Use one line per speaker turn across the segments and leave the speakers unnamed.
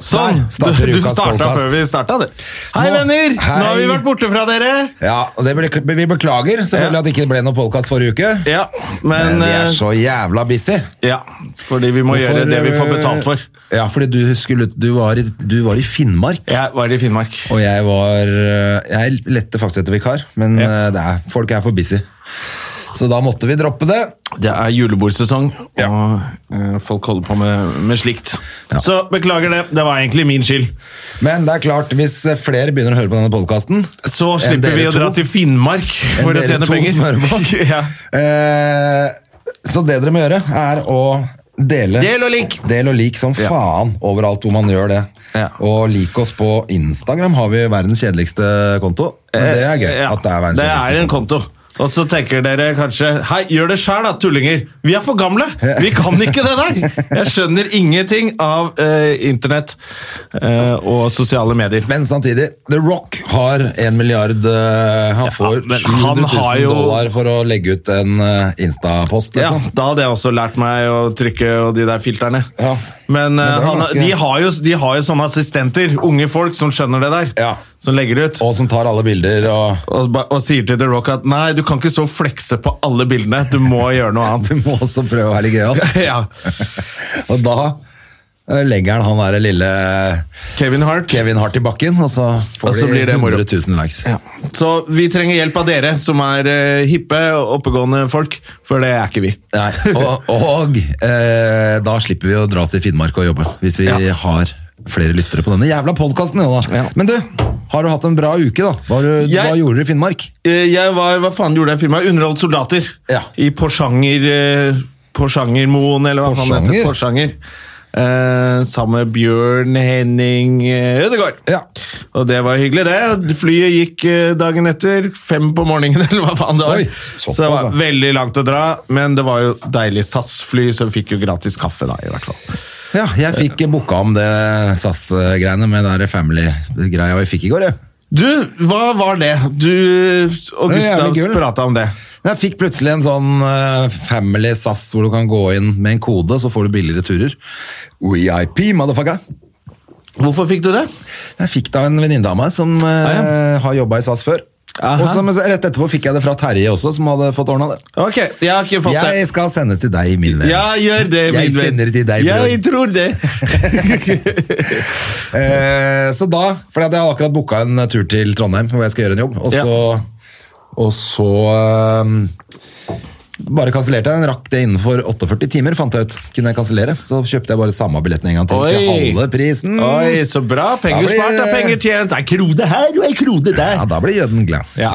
Sånn!
Der starter
Du, du
ukas
starta
podcast.
før vi starta, du. Hei,
Nå-
venner! Nå har vi
Hei.
vært borte fra dere.
Ja, og det ble, Vi beklager selvfølgelig
Ja.
at det ikke ble noen podkast forrige uke.
Ja, men,
Men vi
eh,
er så jævla busy. eh,
Ja, fordi vi må gjøre det vi får betalt for.
Ja, fordi du, skulle, du, var, i, du var i Finnmark.
Jeg var i Finnmark.
Og jeg var eh, Jeg lette faktisk etter vikar, men
Ja.
eh, det er, folk er for busy. Så da måtte vi droppe det.
Det er julebordsesong,
Ja.
og eh, folk holder på med, med slikt. Så beklager det. Det var egentlig min skyld.
Men det er klart, hvis flere begynner å høre på denne podkasten
Så slipper vi å dra til Finnmark for å tjene penger. ja.
Eh, Så det dere må gjøre, er å dele
Del og lik!
Del og lik som
Ja.
faen overalt hvor man gjør det.
Ja.
Og lik oss på Instagram, har vi verdens kjedeligste konto. Men det er gøy.
Eh, Ja,
at Det er verdens
det er
kjedeligste
en konto. Og så tenker dere kanskje Hei, gjør det sjæl da, tullinger! Vi er for gamle! Vi kan ikke det der! Jeg skjønner ingenting av eh, internett eh, og sosiale medier.
Men samtidig, The Rock har en milliard eh, Han får
men
700
han
000
har jo-
dollar for å legge ut en eh, Insta-post.
Ja,
Liksom.
da hadde jeg også lært meg å trykke og de der filterne.
Ja.
Men, eh,
det er
han,
ganske-
de, har jo, de har jo sånne assistenter, unge folk, som skjønner det der.
Ja.
Som legger ut.
Og som tar alle bilder og
Og, ba- og sier til The Rock at nei, du kan ikke stå og flekse på alle bildene, du må gjøre noe
Du
annet.
må også prøve å være litt gøyal.
ja.
Og da eh, legger han han der lille
Kevin Hart.
Kevin Hart i bakken, og så får
Og så
de
blir det moro.
100 000 likes.
Ja. Så vi trenger hjelp av dere, som er eh, hippe og oppegående folk, for det er ikke vi.
Nei, og og eh, da slipper vi å dra til Finnmark og jobbe, hvis vi
Ja.
har flere lyttere på denne jævla podkasten.
Ja.
Men du, har du hatt en bra uke, da? Hva, har du,
Jeg-
hva gjorde du i Finnmark?
Eh, Jeg var, hva faen gjorde jeg i firmaet? Underholdt soldater.
Ja.
I Porsanger eh, Porsangermoen, eller hva faen det heter. Porsanger. Eh, sammen med Bjørn Henning eh, Ødegaard.
Ja.
Og det var hyggelig, det. Flyet gikk eh, dagen etter. Fem på morgenen, eller hva faen det var.
Oi, såpass,
så det var
da.
veldig langt å dra, men det var jo deilig SAS-fly, så vi fikk jo gratis kaffe, da, i hvert fall.
Ja, jeg fikk booka om det SAS-greiene med den der family-greia vi fikk i går. Jeg.
Du, hva var det? Du og
Det er jævlig
Gustav
gull.
prata om det.
jeg fikk plutselig en sånn eh, family SAS hvor du kan gå inn med en kode, så får du billigere turer. VIP, motherfucker!
Hvorfor fikk du det?
Jeg fikk da en venninne av meg som eh,
Ah,
har jobba i SAS før.
Aha.
Og så, men så rett etterpå fikk jeg det fra Terje også, som hadde fått ordna det.
Ok, jeg har ikke fått
Jeg skal sende til deg, min
det.
venn.
Ja, gjør det,
Jeg
min venn.
sender det til deg,
Jeg
bror.
tror det.
Eh, så da, for jeg hadde akkurat booka en tur til Trondheim hvor jeg skal gjøre en jobb, og
Ja.
så, og så eh, bare kansellerte jeg den. Rakk det innenfor 48 timer, fant jeg ut. Kunne jeg kansellere, så kjøpte jeg bare samme billetten en gang til. Til
Oi.
halve prisen.
Oi, så bra. Penger
Mm. Da blir-
spart er penger tjent. Ei krone her og ei krone der.
Ja, da blir jøden glad.
Ja.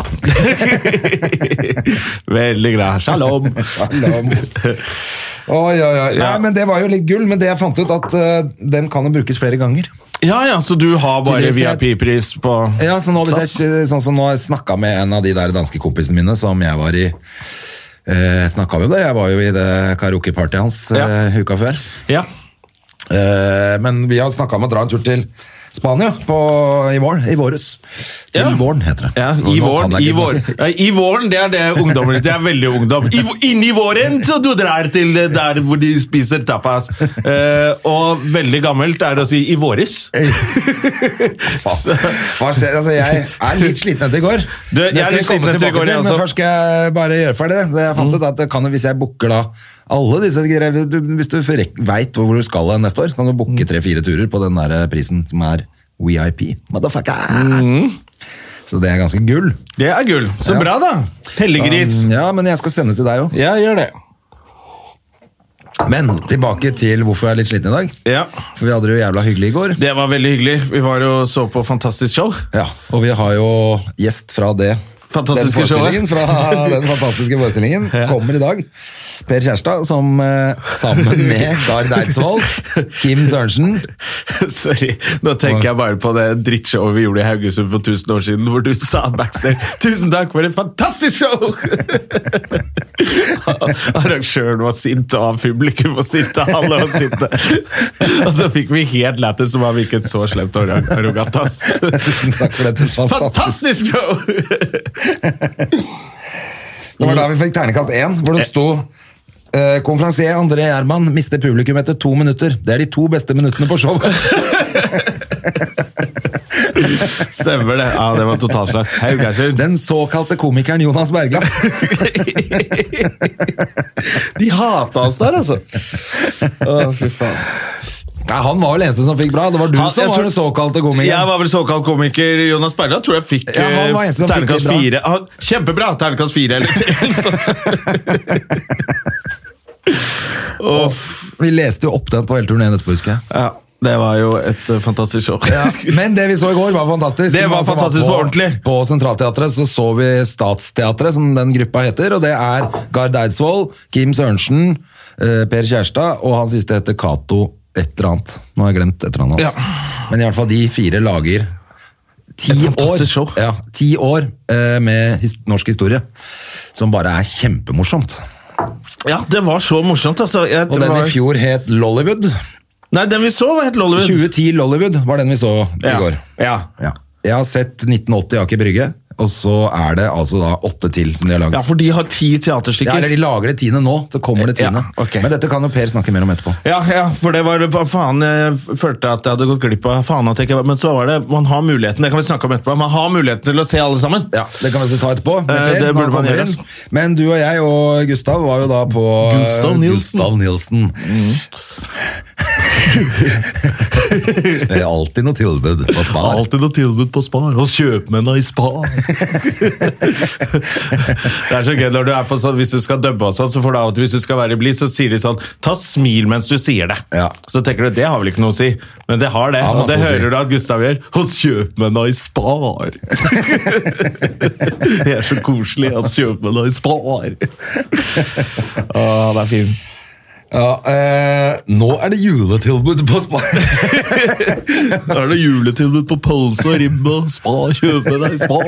Veldig glad. Shalom.
Shalom. Oi, oi, oi. Nei,
Ja.
men det var jo litt gull, men det jeg fant ut, at eh, den kan jo brukes flere ganger.
Ja, ja, så du har bare
Tydeligvis jeg- Eh,
VIP-pris på
Ja, så nå, hvis
SAS?
jeg, ikke- sånn som nå har jeg snakka med en av de der danske kompisene mine som jeg var i eh, Snakka med det, jeg var jo i det karaokepartyet hans
Ja.
eh, uka før.
Ja.
Eh, men vi har snakka om å dra en tur til Spania på, i vår, i våres. Til
Ja.
våren, heter det.
Ja,
Nå-
I
nå kan
våren,
jeg
i,
ikke
våren.
snakke.
Nei, I våren, det er det ungdommer Det er veldig ungdom. I, inni våren så du drar til det der hvor de spiser tapas. Eh, og veldig gammelt er det å si i våres.
Faen. Hva skjer? Altså, jeg er litt sliten etter i går.
Du, jeg
Det
er
skal vi
litt
komme
sliten etter i
tilbake
går, jeg
til, men
også. Mm.
først skal jeg bare gjøre ferdig det. Jeg fant ut at det kan, jo- Hvis jeg booker da alle disse greiene du- Hvis du veit hvor du skal hen neste år, kan du
Mm.
booke tre-fire turer på den der eh, prisen som er VIP. Motherfucker!
Mm.
Så det er ganske gull.
Det er gull. Så
Ja.
bra, da! Hellegris.
Um, Ja, men jeg skal sende til deg òg.
Ja, gjør det.
Men tilbake til hvorfor jeg er litt sliten i dag.
Ja.
For vi hadde det jo jævla hyggelig i går.
Det var veldig hyggelig. Vi var og så på fantastisk show.
Ja, og vi har jo gjest fra det Den
fantastiske
forestillingen
showet.
fra den fantastiske forestillingen kommer i dag. Per Kjærstad, som eh, sammen med Gard Eidsvoll, Kim Sørensen
Sorry, nå tenker jeg bare på det drittshowet vi gjorde i Haugesund for 1000 år siden, hvor du sa backstage 'Tusen takk for et fantastisk show!' Arrangøren var sint, og han publikum var sint, og alle var sinte. Og så fikk vi helt lættis som om vi ikke et så slemt og arrogant. ass.
Tusen takk for det. Fantastisk.
Fantastisk show!
Det var da vi fikk ternekast én, hvor det sto eh, Konferansier André Gjerman mister publikum etter to minutter. Det er de to beste minuttene på showet.
Stemmer det. Ja, det var totalslakt. Haugesund.
Den såkalte komikeren Jonas Bergland.
De hata oss der, altså. Å, fy faen.
Nei, han var vel eneste som fikk bra. Det var du
Han- jeg
som
tror-
var den såkalte komikeren.
Jeg var vel såkalt komiker. Jonas Bergland tror jeg fikk
Ja, han var
eh,
en som fikk det
terningkast
bra.
fire. Han- Kjempebra! Terningkast fire eller til. sånn. Å, f-
Vi leste jo opp den på hele turneen etterpå, husker jeg.
ja, det var jo et eh, fantastisk show.
Men det vi så i går, var fantastisk.
Det var
Altså,
fantastisk på ordentlig.
På Sentralteatret så så vi Statsteatret, som den gruppa heter. Og det er Gard Eidsvoll, Kim Sørensen, eh, Per Kjærstad og han siste heter Cato et eller annet. Nå har jeg glemt et eller annet hans. Men i hvert fall de fire lager ti
Et
år,
fantastisk show.
Ja, ti år eh, med his norsk historie, som bare er kjempemorsomt.
Ja, det var så morsomt, altså. Jeg,
Og
det
den
var,
i fjor het Lollywood.
Nei, den vi så, var helt Lollywood.
2010 Lollywood var den vi så i
Ja.
går.
Ja.
Ja. Jeg har sett 1980 Aker Brygge, og så er det altså da åtte til som de har
ja,
laget.
for de har ti
Ja,
teaterstykker.
eller de lager det tiende nå, så kommer det
Ja,
tiende.
ok.
Men dette kan jo Per snakke mer om etterpå.
Ja, ja, for det var hva Faen, jeg f- følte at jeg hadde gått glipp av faen at jeg ikke var Men så var det Man har muligheten, det kan vi snakke om etterpå. Man har muligheten til å se alle sammen.
Ja, Det kan vi også ta etterpå. Men,
Eh,
Per,
det
nå
burde man
kommer
gjøre,
inn. men du og jeg og Gustav var jo da på eh,
Gustav Mm. Nilsen.
Gustav Nilsen. det er alltid noe tilbud på Spar.
Alltid noe tilbud på Spar. Hos kjøpmennene i Spar. det er så gøy når du er på sånn, Hvis du skal dubbe og sånn, så får du av og til hvis du skal være blid, så sier de sånn Ta smil mens du sier det.
Ja.
Så tenker du det har vel ikke noe å si, men det har det.
Ja,
og det
masse å si.
hører du at Gustav gjør. Hos kjøpmennene i Spar. det er så koselig. Hos kjøpmennene i Spar. Å, det er fint.
Ja, eh, nå er det juletilbud på Spar.
Da er det juletilbud på pølse og ribbe og spa. Kjøpe deg spa!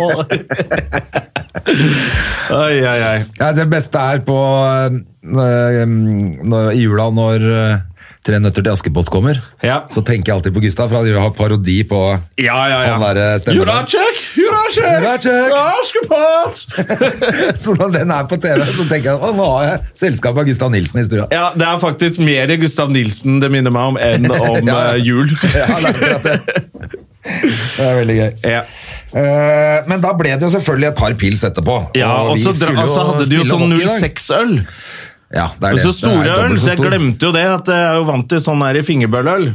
Ai, ai, ai.
Ja, det beste er på eh, når, i jula når eh, Tre nøtter til Askepott kommer.
Ja.
Så tenker jeg alltid på Gustav, for han gjør- har parodi på
Ja, ja, ja.
Han der eh, stemmer der.
Juracek! Juracek!
Juracek!
Askepott!
Så når den er på TV, så tenker jeg å, nå har jeg selskap av Gustav Nilsen i stua.
Ja, det er faktisk mer Gustav Nilsen det minner meg om, enn om
Ja.
eh, jul.
Ja, det er akkurat det. Det er veldig gøy.
Ja.
Eh, men da ble det jo selvfølgelig et par pils etterpå.
Ja, og
vi
så
skulle
dra- altså, hadde de jo
spille
sånn
hockey i dag.
06-øl.
Ja, det er det.
Og så
Den er
store øl,
dobbelt
så jeg
stor.
glemte jo det. at Jeg er jo vant til sånn her fingerbøløl.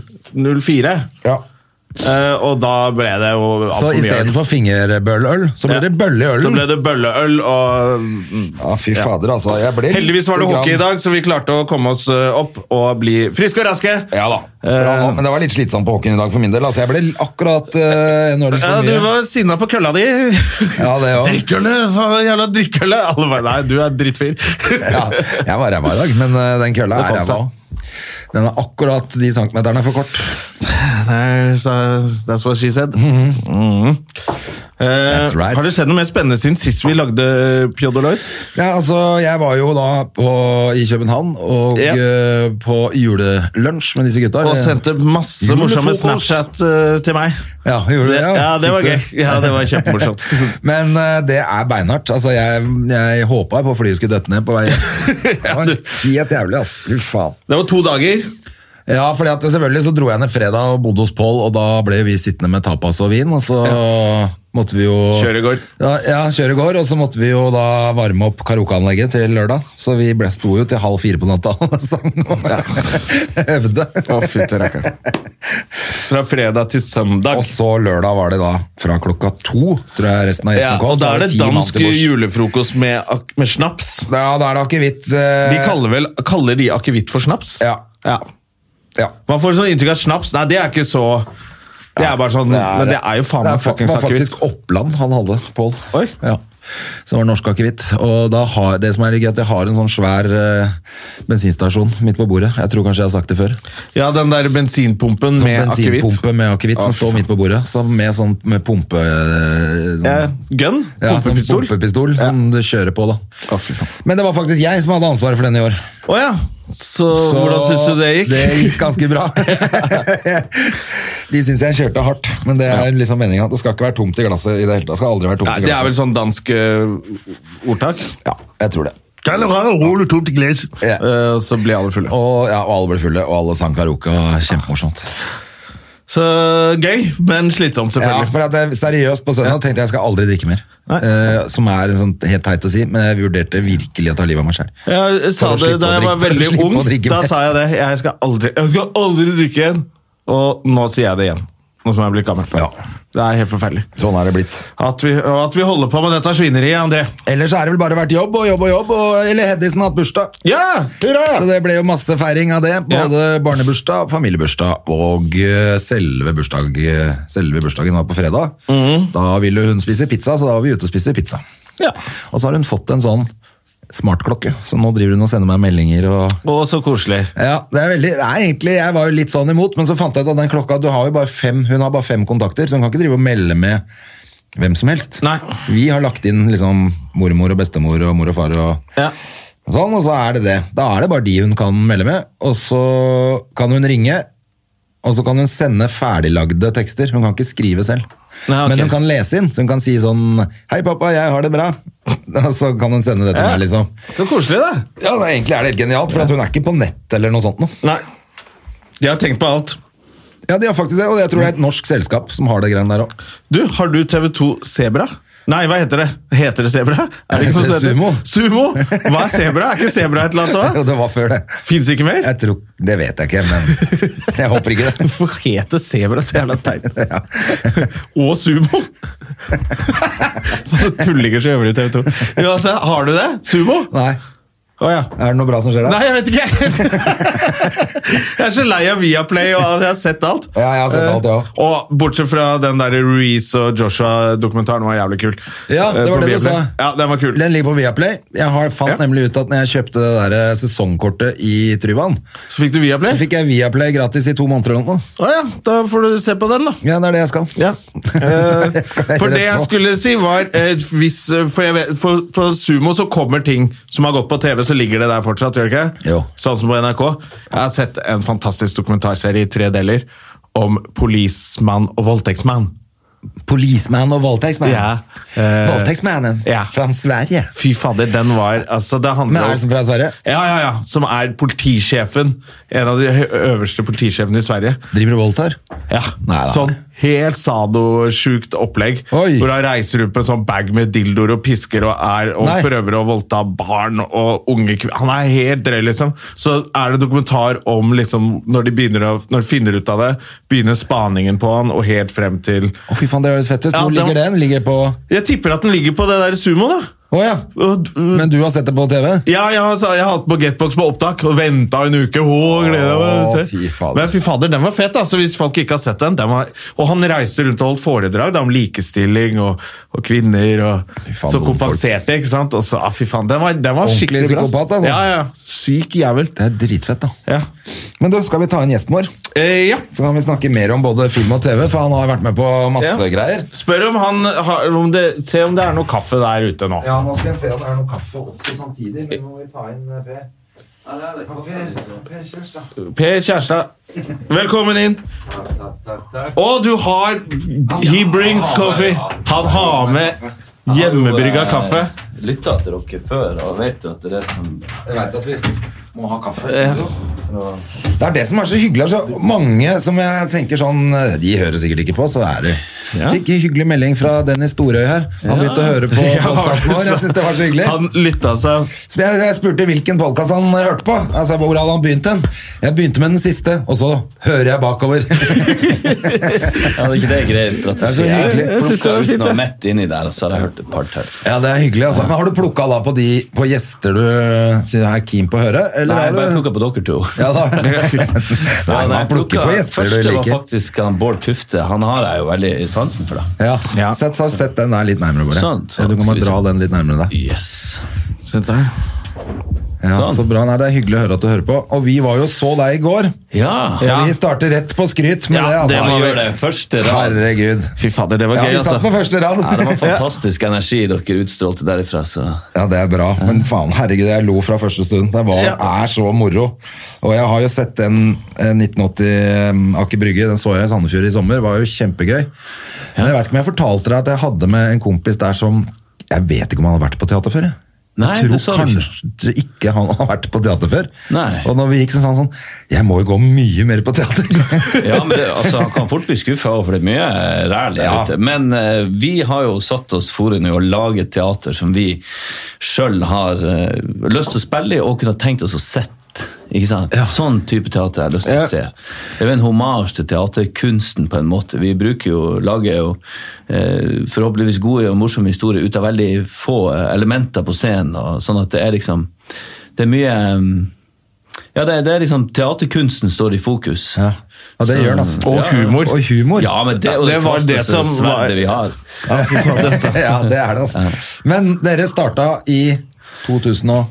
04.
Ja.
Eh, og da ble det jo
Så
altfor mye øl.
istedenfor fingerbølleøl, så ble
Ja.
det bølle i
Så ble
ølen.
det bølleøl og mm,
Ja, fy fader, altså. Jeg ble
Heldigvis var det
lite
hockey i
grann-
dag, så vi klarte å komme oss eh, opp og bli friske og raske.
Ja da. Bra,
Eh,
nå, men det var litt slitsomt på hockeyen i dag for min del. Altså, jeg ble akkurat eh, en øl
Ja,
for
du
mye.
var sinna på kølla di.
Ja, det også.
Drikkølle! faen, Jævla drikkølle! Alle bare Nei, du er drittfyr.
Ja, jeg var ræva i dag, men eh, den kølla er
Det kom
ræva
seg.
òg. Den er akkurat de centimeterne for kort.
There's a- That's what she said. Mhm. Eh,
That's right.
Har det skjedd noe mer spennende siden sist vi lagde eh, Pjodor Lois?
Ja, altså, jeg var jo da på, i København og
Ja.
eh, på julelunsj med disse gutta.
Og
Det-
sendte masse
Julefrokost.
morsomme Snapchat eh, til meg.
Ja, gjorde du
Det,
det?
ja, det var
Fikk
gøy.
du-
Ja, det var kjempemorsomt.
Men eh, det er beinhardt. Altså, jeg, jeg håpa på flyet skulle dette ned på vei hjem. Det var Helt jævlig, altså. Fy faen.
Det var to dager.
Ja, fordi at selvfølgelig så dro jeg ned fredag og bodde hos Pål, og da ble vi sittende med tapas og vin, og så måtte vi jo
Kjøre i går.
Ja, ja, kjøre i går, og så måtte vi jo da varme opp karaokeanlegget til lørdag. Så vi ble, sto jo til halv fire på natta og sang og øvde.
Fra fredag til søndag.
Og så lørdag var det da fra klokka to, tror jeg resten av
Ja,
gjesten kom.
og
så
da er det
ti mann
dansk
til bords.
julefrokost med, ak- med snaps.
Ja, da er det akevitt. eh,
De kaller, vel, kaller de akevitt for snaps?
Ja. ja.
Man får sånn inntrykk av snaps. Nei, det er ikke så Det er bare sånn Men det er jo faen
det
meg
er fa-
fuckings
var
akevitt.
faktisk Oppland han hadde, Pål.
Oi.
Ja. som var norsk akevitt. Og da har, det som er litt gøy, er at jeg har en sånn svær eh, bensinstasjon midt på bordet. Jeg tror kanskje jeg har sagt det før.
Ja, den der bensinpumpen
Sånn
med akevitt.
bensinpumpe med akevitt
Ah,
som
fy
står
faen.
midt på bordet. Så med sånn med pumpe... eh, sånn-
Eh, Gun?
ja, sånn
Pumpepistol?
pumpepistol som du kjører på, da.
Å, fy faen.
Men det var faktisk jeg som hadde ansvaret for den i år.
Å ja. Så, hvordan syns du det gikk?
Det gikk ganske bra. De syns jeg kjørte hardt, men det er liksom meninga. Det skal ikke være tomt i glasset i det hele tatt. Det skal aldri være tomt
Nei,
i
det er vel
glasset.
sånn dansk eh, ordtak.
Ja, jeg tror det. Ja.
Eh, så blir alle fulle.
Og, ja, og alle ble fulle, og alle sang karaoke. og Kjempemorsomt.
Så gøy, men slitsomt,
Ja,
selvfølgelig.
for at jeg, seriøst, på søndag tenkte jeg jeg skal aldri drikke mer.
Nei.
Eh, som er en sånn helt teit å si, men jeg vurderte virkelig å ta livet av meg sjøl.
Jeg sa
For å
det
slippe
da
å
jeg var
drikke- for å
veldig
slippe
ung.
å drikke
Da
mer.
sa jeg det. Jeg skal aldri, jeg skal aldri drikke igjen. Og nå sier jeg det igjen. Nå som jeg er blitt gammel.
Ja.
Det er helt forferdelig.
Sånn er det blitt.
At vi, og at vi holder på med dette svineriet, André.
Ellers har det vel bare vært jobb og jobb og jobb, og eller Hedisen har hatt bursdag.
Ja!
Så det ble jo masse feiring av det.
Ja.
Både barnebursdag, familiebursdag og eh, selve, bursdag, selve bursdagen var på fredag. Da ville hun spise pizza, så da var vi ute og spiste pizza.
Ja.
Og så har hun fått en sånn smartklokke, så nå driver hun og sender meg meldinger og
Og så koselig.
ja, det er veldig, det er egentlig, Jeg var jo litt sånn imot, men så fant jeg ut at den klokka du har jo bare fem, Hun har bare fem kontakter, så hun kan ikke drive og melde med hvem som helst.
Nei.
Vi har lagt inn liksom mormor og bestemor og mor og far og
Ja.
og sånn, og så er det det. Da er det bare de hun kan melde med, og så kan hun ringe, og så kan hun sende ferdiglagde tekster. Hun kan ikke skrive selv.
Nei, ok.
Men hun kan lese inn, så hun kan si sånn Hei, pappa, jeg har det bra. Og så kan hun sende det til
Ja.
meg, liksom.
Så koselig, da.
Ja, det, Egentlig er det helt genialt, for at hun er ikke på nett eller noe sånt noe.
Nei. De har tenkt på alt.
Ja, de har faktisk det, og jeg tror det er et norsk selskap som har det greiene der òg.
Du, har du TV2 Sebra? Nei, hva heter det? Heter det Sebra? Er det ikke noe som heter Sumo? Hva er Sebra? Er ikke Sebra et eller annet
Jo,
òg?
det var før det.
Fins ikke mer?
Jeg tror, det vet jeg ikke, men jeg håper ikke det.
Hvorfor heter sebra så jævla teit? Og sumo! Nå Tullinger som jobber i TV 2. Uansett, har du det? Sumo?
Nei,
Å ja.
er det noe bra som skjer der?
Nei, jeg vet ikke! Jeg er så lei av Viaplay og at jeg har sett alt.
Ja, jeg har sett alt, jeg også.
Eh, Og bortsett fra den der Reece og Joshua-dokumentaren var jævlig kul.
Ja, det var
Eh, på
det du
Viaplay.
sa.
Ja, den var kul.
Den ligger på Viaplay. Jeg har fant
Ja.
nemlig ut at når jeg kjøpte det der eh, sesongkortet i Tryvann,
Så fikk du
så
Viaplay? Å
fikk jeg Viaplay gratis i to måneder eller noe.
ja, da får du se på den, da.
Ja, det er det jeg skal.
Ja. Eh,
Det skal jeg
for
rett
det jeg
på.
skulle si var eh, hvis, eh, for, jeg vet, for På Sumo så kommer ting som har gått på TV, så ligger det der fortsatt, gjør det ikke?
Jo.
Sånn som på NRK. Jeg har sett en fantastisk dokumentarserie i tre deler om polismann og voldtektsmann.
Policeman og voldtektsman.
Ja, eh,
Voldtektsmannen
ja.
fra Sverige.
Fy fader, den var altså, det handler
Men er
om-
det som fra Sverige?
Ja, ja, ja. Som er politisjefen. En av de hø- øverste politisjefene i Sverige.
Driver og voldtar?
Ja,
Nei, da.
sånn helt sadosjukt opplegg
Oi.
Hvor han reiser ut på en sånn bag med dildoer og pisker og er Og
Nei.
prøver å voldta barn og unge kvinner Han er helt drøy liksom Så er det dokumentar om liksom Når de, begynner å, når de finner ut av det Begynner spaningen på han og helt frem til
Å, fy faen, det høres fett ut.
Ja,
Hvor
det var-
ligger den? Ligger på Å
Jeg tipper at den ligger på det der sumo da
ja.
Og-
Men du har sett det på TV?
ja, jeg har, jeg har hatt på Getbox på opptak og venta en uke. Å, gleder
Å,
meg.
fy fader.
Men fy fader, den var fet, altså, hvis folk ikke har sett den. den var, og han reiste rundt og holdt foredrag da, om likestilling og, og kvinner. Og,
faen,
så
dumme
kompenserte, ikke sant? Og så, ah, fy faen, den var, den var
Ordentlig
skikkelig bra.
psykopat, altså.
Ja, ja. Syk jævel.
Det er dritfett, da.
Ja.
Men du, skal vi ta inn gjesten vår?
Eh, ja.
Så kan vi snakke mer om både film og TV, for han har vært med på masse
Ja.
greier.
Spør om han har om det, Se om det er noe kaffe der ute nå.
Ja, nå skal jeg se om det er noe kaffe også samtidig, men må vi ta inn eh, Per. Per, per Kjørstad.
Per Kjærstad, velkommen inn. Og du har He brings coffee. Han har med hjemmebrygga kaffe.
Lytta til dere før og vet jo at det er sånn- det som
Jeg vet at vi må ha kaffe. Det er det som er så hyggelig. er Så mange som jeg tenker sånn eh, De hører sikkert ikke på, så er det
Ja.
Fikk en hyggelig melding fra Dennis Storøy her. Han begynte å høre på podkasten vår. Jeg synes det var så hyggelig.
Han lytta seg
Så jeg, jeg spurte hvilken podkast han eh, hørte på. Altså, Hvor hadde han begynt den? Jeg begynte med den siste, og så hører jeg bakover.
Ja, det er ikke det grei strategi.
Det er så hyggelig.
Jeg
Jeg synes det var
plukket
fint,
ut noe
det.
midt inni der, og så har jeg hørt et par til.
Ja, det er hyggelig. Altså. Men har du plukka da på de på gjester du sy- er keen på å høre, eller
Nei, jeg bare
har du
plukka på dere to.
ja, da. Nei,
Ja, nei,
man plukker
jeg plukket-
på gjester du
Første var
liker.
faktisk han Bård Tufte. Han har jeg jo veldig sansen for. da.
Ja,
Ja.
Sett, sett, sett den der litt nærmere, bare.
Sånn,
Ja, du kan bare
sånn,
dra
liksom.
den litt nærmere deg.
Yes.
Se der.
Ja,
Sånn.
så bra. Nei, det er hyggelig å høre at du hører på. Og vi var jo så deg i går.
Ja,
Ja.
Vi starter rett på skryt med
Ja,
det,
det
altså.
må-
gjør det. Første rad.
Herregud.
Fy fader, det var
Ja,
gøy,
vi
altså.
satt på første rad.
Ja, det var fantastisk energi dere utstrålte derifra. så...
Ja, det er bra. Men faen, herregud, jeg lo fra første stund. Det var, er så moro. Og jeg har jo sett den eh, 1980 Aker Brygge, den så jeg i Sandefjord i sommer. var jo kjempegøy. Men jeg vet ikke om jeg fortalte deg at jeg hadde med en kompis der som Jeg vet ikke om han har vært på teater før. jeg.
Nei,
jeg
det
tror
sa du ikke.
kanskje ikke han har vært på teater før.
Nei.
Og når vi gikk, så sa han sånn Jeg må jo gå mye mer på teater.
Ja, men det, altså, Han kan fort bli skuffa over det er mye ræl der
Ja.
ute. Men eh, vi har jo satt oss fore nå å lage et teater som vi sjøl har eh, lyst til å spille i og kunne tenkt oss å sette. Ikke sant? Sånn type teater jeg har lyst til
Ja.
å se. Det er jo en hommage til teaterkunsten på en måte. Vi bruker jo, lager jo eh, forhåpentligvis gode og morsomme historier ut av veldig få eh, elementer på scenen. Og, sånn at det er liksom Det er mye eh, Ja, det, det er liksom Teaterkunsten står i fokus.
ja. ja, det
Så-
gjør han, altså.
Og
Ja, ja.
humor.
Og humor.
Ja, men det,
Ja,
og det,
det var det
kasteste
som var-
sverdet vi har.
Ja, det er det, altså. Men dere starta i 2000 og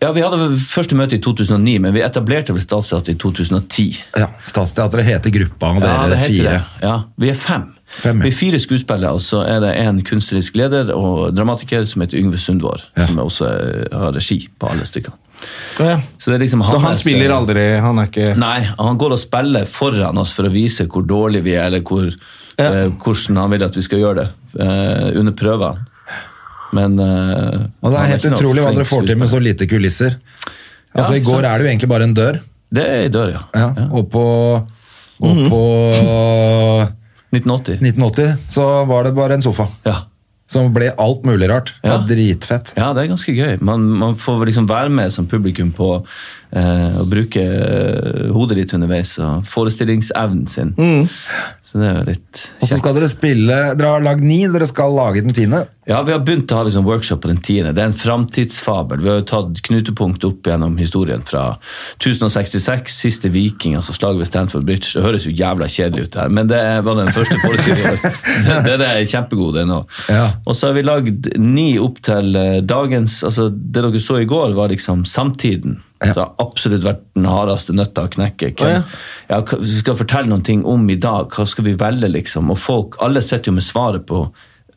Ja, Vi hadde første møte i 2009, men vi etablerte vel Statsteatret i 2010.
Ja, Statsteatret heter gruppa, og dere
Ja, det heter
fire.
det. Ja, vi er fem.
Fem, ja.
Vi er fire skuespillere, og så er det en kunstnerisk leder og dramatiker som heter Yngve Sundvår,
Ja.
som også eh, har regi på alle stykkene.
Ja, ja.
Så det er liksom
Så han
hans,
spiller
eh,
aldri, han er ikke
Nei, han går og spiller foran oss for å vise hvor dårlig vi er, eller hvor,
Ja.
eh, hvordan han vil at vi skal gjøre det eh, under prøvene. Men eh,
Og det
han
er
ikke
helt
noe
utrolig hva
flink
dere får til med så lite kulisser. Altså,
Ja,
I går
sant.
er det jo egentlig bare en dør,
skuespiller. Det er i dør, ja.
ja,
ja. Mhm.
og på, og på
1980.
1980 så var det bare en sofa.
Ja.
Som ble alt mulig rart. Det var
Ja.
dritfett.
ja, det er ganske gøy. Man, man får liksom være med som publikum på eh, å bruke eh, hodet litt underveis og forestillingsevnen sin. Så det er jo litt
Og så skal dere spille Dere har lagd ni, dere skal lage den tiende.
Ja, vi har begynt å ha liksom workshop på den tiende. Det er en framtidsfabel. Vi har jo tatt knutepunkt opp gjennom historien fra 1066, siste viking, altså slaget ved Stanford Bridge. Det høres jo jævla kjedelig ut her, men det var den første forestillingen. Den, den er kjempegod, den òg.
Ja.
Og så har vi lagd ni opp til eh, dagens Altså, det dere så i går, var liksom samtiden. Det har absolutt vært den hardeste nøtta å knekke. Hvem,
Å, ja.
ja, hva- vi skal fortelle noen ting om i dag, hva skal vi velge liksom? Og folk, alle sitter jo med svaret på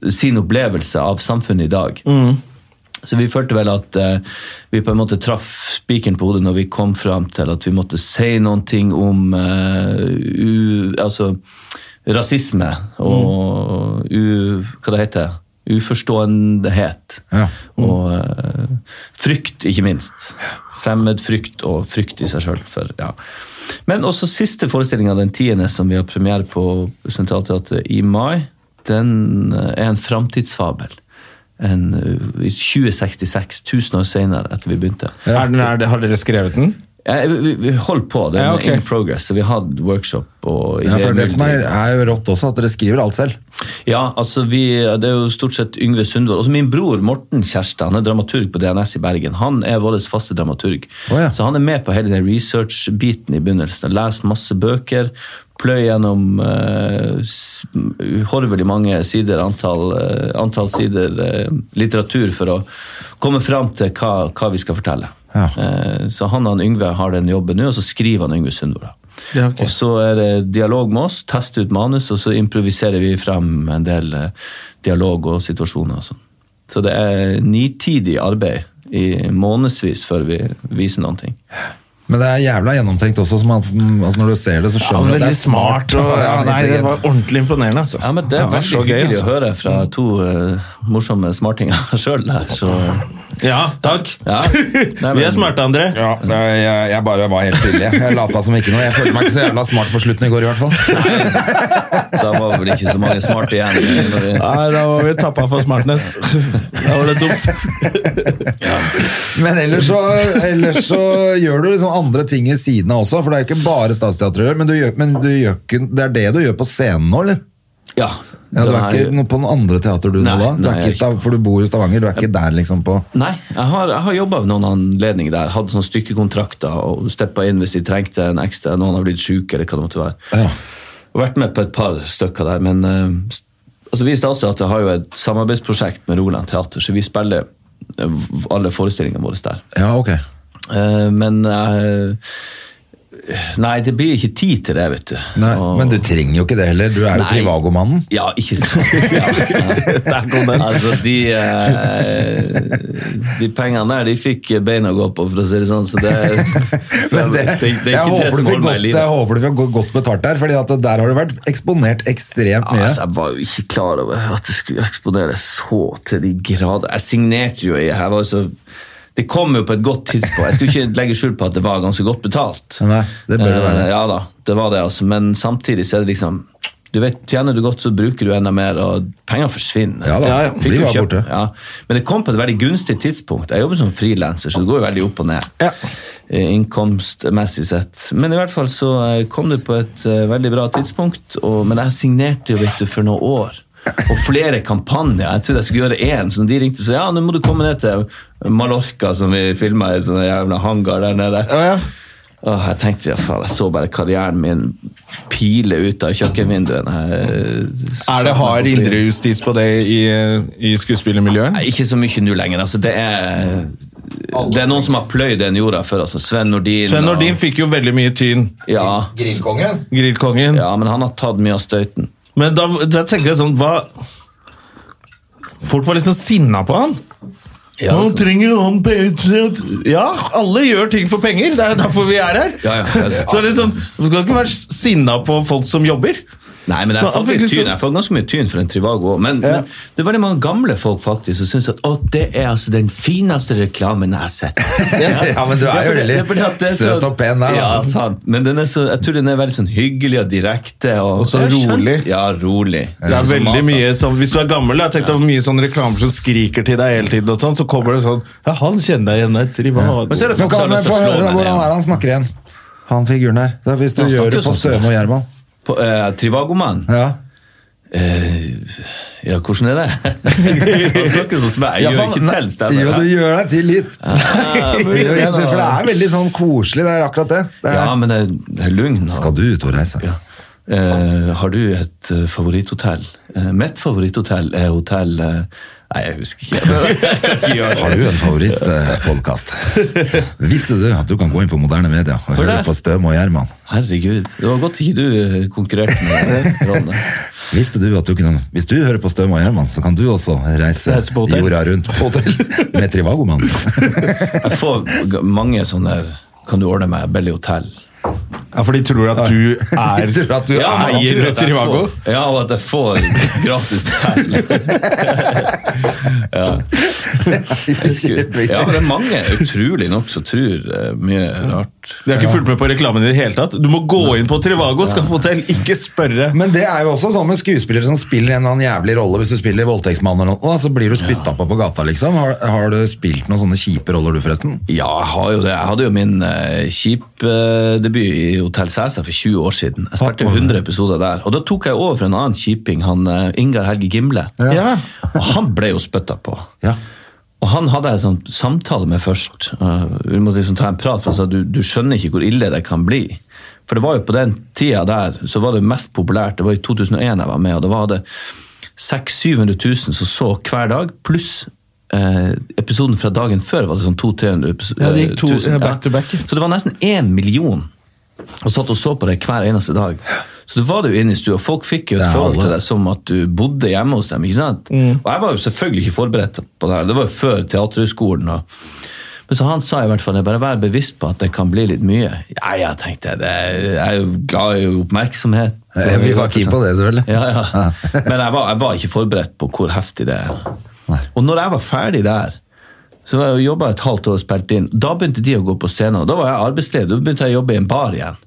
sin opplevelse av samfunnet i dag. Så vi følte vel at eh, vi på en måte traff spikeren på hodet når vi kom fram til at vi måtte si noen ting om eh, u, altså, rasisme og u, hva det heter uforståendehet.
Ja.
Og eh, frykt, ikke minst. Fremmed frykt og frykt i seg sjøl. Ja. Men også siste forestilling av den tiende som vi har premiere på Sentralteatret i mai, den eh, er en framtidsfabel. En, eh, I 2066, 1000 år senere etter vi begynte.
er den, er, det- Har dere skrevet den?
Eh, vi- vi, vi holdt på, det er
Ja, ok.
in progress, så vi hadde workshop. og
Ja, for det
idémyldring.
som er, er jo rått også, at dere skriver alt selv.
Ja, altså vi, det er jo stort sett Yngve Sundvold. Også min bror Morten Kjærstad, han er dramaturg på DNS i Bergen. Han er vår faste dramaturg.
Å ja.
Så han er med på hele den research-biten i begynnelsen. Leser masse bøker, pløy gjennom eh, s- uhorvelig mange sider, antall, eh, antall sider eh, litteratur for å komme fram til hva, hva vi skal fortelle.
Ja.
Eh, så han og han Yngve har den jobben nå, og så skriver han Yngve Sundvold. da.
Ja, ok.
Og så er det dialog med oss, teste ut manus, og så improviserer vi frem en del eh, dialog og situasjoner. Og sånn. så det er nitidig arbeid i månedsvis før vi viser noen ting.
Men det er jævla gjennomtenkt også. Som at, mm, altså når du ser det, så
Ja,
skjønner du at det er smart.
og, ja,
ja,
nei, det var
intelligent.
ordentlig imponerende, altså.
Ja, men Det er
var
veldig
så gøy,
hyggelig
altså.
å høre fra to eh, morsomme smartinger sjøl. Så
Ja, takk.
Ja. Nei,
Vi
men-
er smarte, André.
Ja, det- jeg, jeg bare var helt stille. jeg. Jeg lata som ikke noe. Jeg følte meg ikke så jævla smart på slutten i går, i hvert fall.
da var vel ikke så mange smarte igjen. eh, Når vi
Nei, da var vi tappa for smartness. Da var det dumt.
Men ellers så, ellers så gjør du liksom andre ting ved siden av også, for det er ikke bare Statsteatret du gjør, men, du gjør, men du gjør ikke, det er det du gjør på scenen nå, eller?
Ja.
Ja, du
den
er ikke noe på den andre teater du
Nei,
nå da? Du
nei,
er
jeg er
ikke i Stav, for du bor i Stavanger, du er ikke der liksom på
Nei, jeg har, jeg har jobba ved noen anledninger der. Hatt sånne stykkekontrakter og steppa inn hvis de trengte en ekstra. Noen har blitt syke, eller hva det måtte være.
ja.
Og vært med på et par stykker der, men eh, st- altså, vi i Statsteatret har jo et samarbeidsprosjekt med Roland Teater, så vi spiller eh, v- alle forestillingene våre der.
ja, ok.
Eh, men eh, Nei, det blir ikke tid til det, vet du.
Nei,
Og-
men du trenger jo ikke det heller. Du er jo
Nei.
Trivago-mannen.
Ja, ikke sant. Ja, ja. Der kom den. Altså, de, eh, de pengene der, de fikk beina å gå på, for å si det sånn. Så det, så
Men det,
det, det, er
jeg,
ikke det
håper du
som
får
holder meg i
godt, jeg
livet.
håper du får go- godt betalt der, Fordi at der har du vært eksponert ekstremt
Ja,
mye.
altså, jeg var jo ikke klar over at det skulle eksponere så til de grader. Jeg signerte jo i jeg var jo så, Det kom jo på et godt tidspunkt. Jeg skulle ikke legge skjul på at det var ganske godt betalt.
Nei, det bør det være.
Eh, Ja da, det var det, altså. Men samtidig så er det liksom du vet, Tjener du godt, så bruker du enda mer, og penger forsvinner.
Ja da,
Ja, ja.
blir
Fikk jo
bare
kjøpt-
borte.
Ja. Men det kom på et veldig gunstig tidspunkt. Jeg jobber som frilanser, så det går jo veldig opp og ned.
Ja.
eh, Innkomstmessig sett. Men i hvert fall så eh, kom det på et eh, veldig bra tidspunkt. Og, men jeg signerte jo vet du, for noen år. Og flere kampanjer. Jeg trodde jeg skulle gjøre én, så de ringte og sa ja, nå må du komme ned til Mallorca, som vi filma i sånn jævla hangar der nede.
Ja, ja.
Åh, jeg tenkte ja, faen, jeg så bare karrieren min pile ut av kjøkkenvinduet. Er
Er det hard indrejustis på det i, i skuespillermiljøet?
Nei, ikke så mye nå lenger. Altså, det, er, det er noen som har pløyd den jorda før. Altså. Sven Nordin.
Sven
og-
Nordin fikk jo veldig mye tyn,
Ja,
Grillkongen?
Grillkongen.
ja, men han har tatt mye av støyten.
Men da, da tenker jeg sånn hva Folk var liksom sinna på han.
Ja,
han trenger jo han penger Ja, alle gjør ting for penger. Det er jo derfor vi er her.
Ja, ja, det er det.
Så liksom, Du skal ikke være sinna på folk som jobber.
Nei, men jeg
Men
får,
han fikk
litt
liksom-
tyn.
sånn-
jeg får ganske mye tyn for en Trivago òg. Men, men det var det mange gamle folk faktisk som syntes at å, det er altså den fineste reklamen jeg har sett.
Ja, men du er jo
for det-
veldig
det er fordi at det er så-
søt og pen der,
Ja,
da.
sant. Men den er så, jeg tror den er veldig sånn hyggelig og direkte. Og,
Og så
Jeg skjønner-
rolig.
Ja, rolig.
Det er
Ikke som
veldig
Masa.
mye som, Hvis du er gammel, jeg tenkte det var mye sånn reklamer som skriker til deg hele tiden, og sånn, så kommer det sånn Ja, han kjenner jeg igjen et Trivago.
Men så er det
Men
folk som
kan,
har
men
lyst til
få
å slå
høre da,
meg
Hvordan er
ned.
det han snakker igjen? Han figuren her. Da, hvis du
Han snakker
gjør det på
jo sånn som
Støme og Gjerman.
På, eh, Trivagomannen?
Ja.
Eh, ja, hvordan er det? Han snakker sånn som meg. Jeg
Ja,
gjør
faen,
ikke
nei,
til stemmer.
Jo, du gjør deg til litt. Jo, jeg synes, for det er veldig sånn koselig, det er akkurat det. det
Ja,
er,
men det er, det er altså. lugn. og-
skal du ut og reise?
Ja. Eh, har du et eh, favoritthotell? Eh, mitt favoritthotell er hotell eh, Nei, jeg husker ikke. Jeg kan ikke gjøre det.
Har du en favorittpodkast? Visste du at du kan gå inn på moderne media og
Hør
høre
der.
på Støm og Gjerman?
Herregud. Det var godt ikke du eh, konkurrerte med Ronne.
Visste du at du kunne, hvis du hører på Støm og Gjerman, så kan du også reise
Reise på hotell.
jorda rundt på hotell med Trivagoman.
Jeg får g- mange sånne Kan du ordne meg billig hotell?
Ja, For de tror at du er
Tror at du
men han
er
Eier
tror at jeg
Trivago?
får- Ja, og at jeg får gratis hotell. Herregud. Ja, men det er mange, utrolig nok, som tror eh, mye rart.
De har ikke fulgt med på reklamen i det hele tatt. Du må gå inn på Trivago, skaffe hotell, ikke spørre.
Men det er jo også sånn med skuespillere som spiller en eller annen jævlig rolle. Hvis du spiller voldtektsmann eller noe, så blir du spytta på på gata, liksom. Har, har du spilt noen sånne kjipe roller, du, forresten?
Ja, jeg har jo det. Jeg hadde jo min uh, kjip-debut i Hotell Cæsar for 20 år siden. Jeg spilte 100 episoder der. Og da tok jeg over for en annen kjiping, han eh, Ingar Helge Gimle.
Ja.
Og han ble jo spytta på.
Ja.
Og han hadde jeg sånn samtale med først. Eh, vi måtte liksom ta en prat, for han sa du, du skjønner ikke hvor ille det kan bli. For det var jo på den tida der, så var det mest populært, det var i 2001 jeg var med, og det var det 600 000-700 000 som så hver dag, pluss eh, episoden fra dagen før var det sånn 200 000-300 000.
Ja, det gikk to,
eh, tusen,
eh, back to back.
Så det var nesten én million og satt og så på det hver eneste dag. Så det var det jo inne i stua. Folk fikk jo et
Det er
forhold
alle. Mm.
til deg som at du bodde hjemme hos dem. ikke sant? Og jeg var jo selvfølgelig ikke forberedt på det her. Det var jo før Teaterhøgskolen. Og... Men så han sa i hvert fall det, bare vær bevisst på at det kan bli litt mye. Ja, ja, tenkte jeg. Det er, jeg er jo glad i oppmerksomhet.
Eh, Vi var keen på det, selvfølgelig.
Ja, ja. Men jeg var, jeg var ikke forberedt på hvor heftig det er. Og når jeg var ferdig der, så var jeg jobba et halvt år og spilte inn. Da begynte de å gå på scenen, og da var jeg arbeidsledig. Da begynte jeg å jobbe i en bar igjen.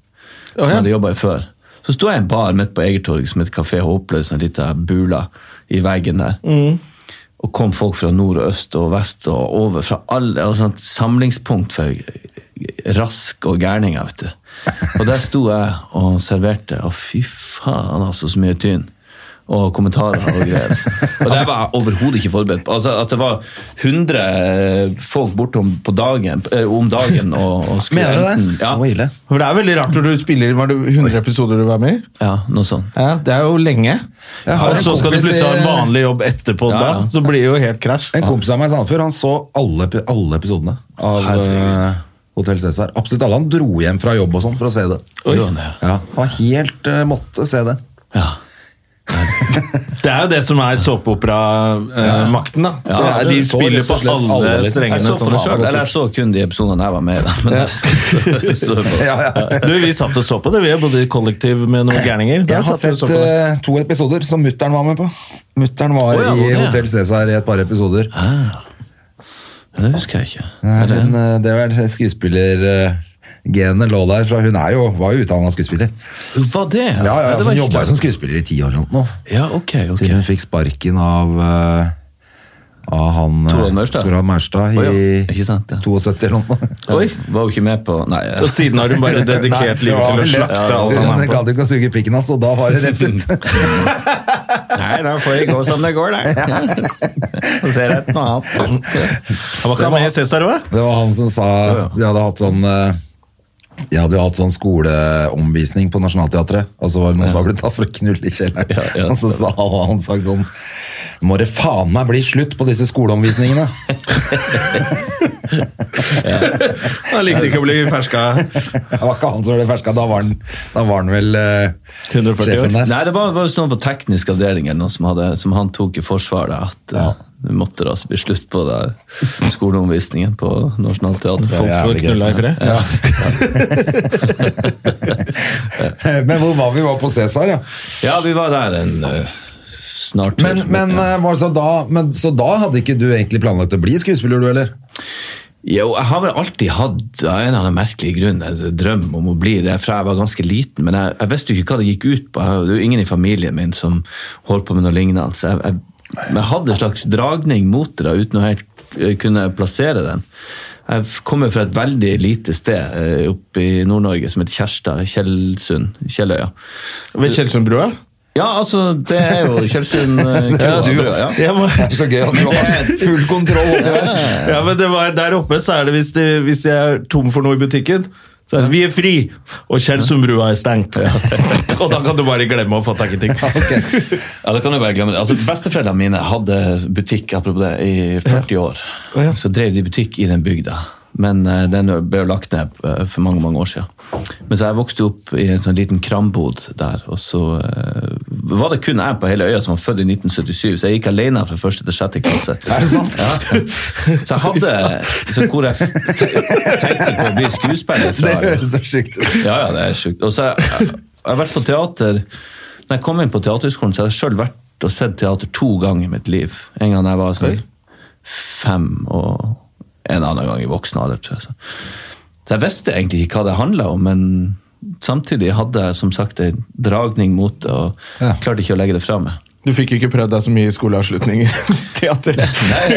Som jeg hadde jobbet i før. Så sto jeg i en bar midt på Egertorget som het Kafé Håpløs, en liten bula i veggen der. Og kom folk fra nord og øst og vest og over fra alle. Og sånt samlingspunkt for rask og gærninger, vet du. Og der sto jeg og serverte, og fy faen, altså, så mye tyn. og kommentarer og greier. Og det var jeg overhodet ikke forberedt på. Altså, at det var 100 folk bortom på dagen, eh, om dagen og, og skulle
Mener du det?
enten- Ja,
Så ille.
For det er veldig rart når du spiller Var det 100 episoder du var med i.
ja, noe sånt.
Ja, Det er jo lenge.
Jeg har
Og
en
så skal du
kompis i-
plutselig ha en vanlig jobb etterpå
Ja,
da.
ja.
Så blir det jo helt krasj.
En kompis av meg i Sandefjord han så alle, epi- alle episodene av
Herregud.
uh, Hotell Cæsar. Absolutt alle. Han dro hjem fra jobb og sånn for å se det.
Oi.
Ja, han var helt eh, måtte se det.
Ja.
Det er jo det som er såpeopera-makten, da. Så
Ja,
de
det så
spiller
rett
på
og slett
alle
alle, liksom.
Jeg
strengene
så,
som
på det
faen.
selv, eller jeg så kun de episodene jeg var med i. da, Men, så,
Ja, ja.
Du, vi satt og så på det, vi er både i kollektiv med noen gærninger.
Jeg har
satt vi og
sett
så på det.
eh, to episoder som mutter'n var med på. Mutter'n var
Å, ja,
i
ok, ja.
Hotell Cæsar i et par episoder.
Ah. det husker jeg ikke.
Nei, men eh, det var skuespillergenet lå der fra Hun er jo, var jo utdanna skuespiller.
Var det?
Ja, ja, ja,
det var
Hun
ikke
jobba jo
det.
som skuespiller i ti år eller noe.
Ja, ok, ok.
Til hun fikk sparken av eh, av han eh,
Torvald Maurstad?
Torvald Maurstad i
Å, ja. Ikke sant, ja.
72 eller noe.
Jeg Var jo ikke med på Nei. jeg-
Og siden har hun bare dedikert
eh, Nei, det
livet
var
til å
vel det.
slakte alt han
Hun
er på.
gadd jo ikke å suge pikken hans, og da var det rett ut.
Nei, da får det gå som det går, da. Så ser jeg et noe annet.
Han var ikke med i Cæsar òg?
Det var han som sa
ja.
De hadde hatt sånn eh, de hadde jo hatt sånn skoleomvisning på Nationaltheatret, og så var det noen som var blitt tatt for å knulle i kjelleren.
Ja, ja,
og så sa han, han sagt sånn Må det faen meg bli slutt på disse skoleomvisningene!
Han likte ikke å bli ferska.
Det var ikke han som ble ferska, da var han, da var han vel eh,
140 år.
sjefen der.
Nei, det var, var sånn på teknisk avdeling eller noe som, hadde, som han tok i forsvar, da, at eh, det måtte da altså bli slutt på det, skoleomvisningen på
Folk
Nationaltheatret.
får
Får knulla i fred.
Men hvor var vi? Vi var på Cæsar, ja.
Ja, vi var der en eh, snart
Men, men,
Ja.
eh, var det så, da, men så da hadde ikke du egentlig planlagt å bli skuespiller, du, eller?
Jo, jeg har vel alltid hatt av en eller annen merkelig grunn en drøm om å bli det fra jeg var ganske liten, men jeg, jeg visste jo ikke hva det gikk ut på. Jeg, det er jo ingen i familien min som holdt på med noe lignende. Så jeg, jeg, men jeg hadde en slags dragning mot det da, uten å helt eh, kunne plassere den. Jeg f- kommer fra et veldig lite sted eh, oppe i Nord-Norge som heter Kjærstad, Kjellsund, Kjelløya.
Ved Kjellsundbrua?
Ja, altså, det er jo Kjellsund eh, Kjelløya, ja.
Jeg må-
Det er så gøy at du har full kontroll over det.
Ja, men det var, Der oppe så er det hvis, de, hvis de er tom for noe i butikken så er det, Vi er fri, og Kjellsundbrua er stengt. og da kan du bare glemme å få tak i ting.
Ja, det kan jeg bare glemme det. Altså, Besteforeldrene mine hadde butikk apropos det, i 40 år. Så drev de butikk i den bygda. Men eh, den ble jo lagt ned eh, for mange mange år siden. Men så jeg vokste opp i en sånn liten krambod der. Og så eh, var det kun jeg på hele øya som var født i 1977, så jeg gikk alene fra første til sjette klasse.
Er det sant?
Så jeg hadde så hvor jeg f- tenkte på å bli skuespiller fra.
Det høres så sjukt ut.
Ja, ja, det er sjukt. Og så har jeg, jeg har vært på teater Når jeg kom inn på teaterhøgskolen, så har jeg sjøl vært og sett teater to ganger i mitt liv. En gang da jeg var sånn fem, og en annen gang i voksen alder, tror jeg. Så. så jeg visste egentlig ikke hva det handla om, men samtidig hadde jeg som sagt en dragning mot det, og
Ja.
klarte ikke å legge det fra meg.
Du fikk ikke prøvd deg så mye i skoleavslutning i teateret.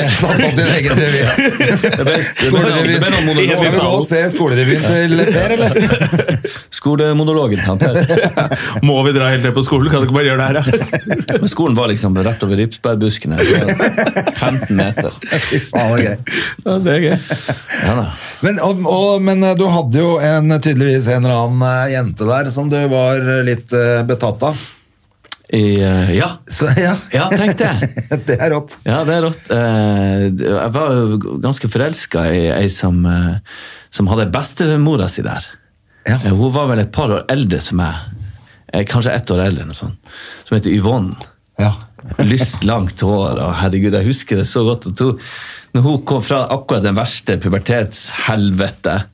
Satt opp din egen revy.
Det ble, det ble, noen- det ble
Skal
noen
vi gå og
monologer.
se skolerevyen til Per, eller?
Skolemonologen til han Per.
Må vi dra helt ned på skolen? Kan du ikke bare gjøre det her? da?
Men skolen var liksom rett over ripsbærbuskene. det var 15 meter.
Fy faen, det er gøy.
Ja, det er gøy.
Ja da.
Men, og, og, men eh, du hadde jo en, tydeligvis en eller annen eh, jente der som du var eh, litt eh, betatt av.
I, eh, ja.
Så ja,
ja, tenk det.
det er rått.
Ja, det er rått. Eh, Jeg var jo ganske forelska i ei som, eh, som hadde bestemora si der.
Ja.
Eh, Hun var vel et par år eldre som meg. Eh, Kanskje ett år eldre, eller noe sånt. Som heter Yvonne.
Ja.
Lyst, langt hår. Og herregud, jeg husker det så godt. At hun, når hun kom fra akkurat den verste pubertetshelvete,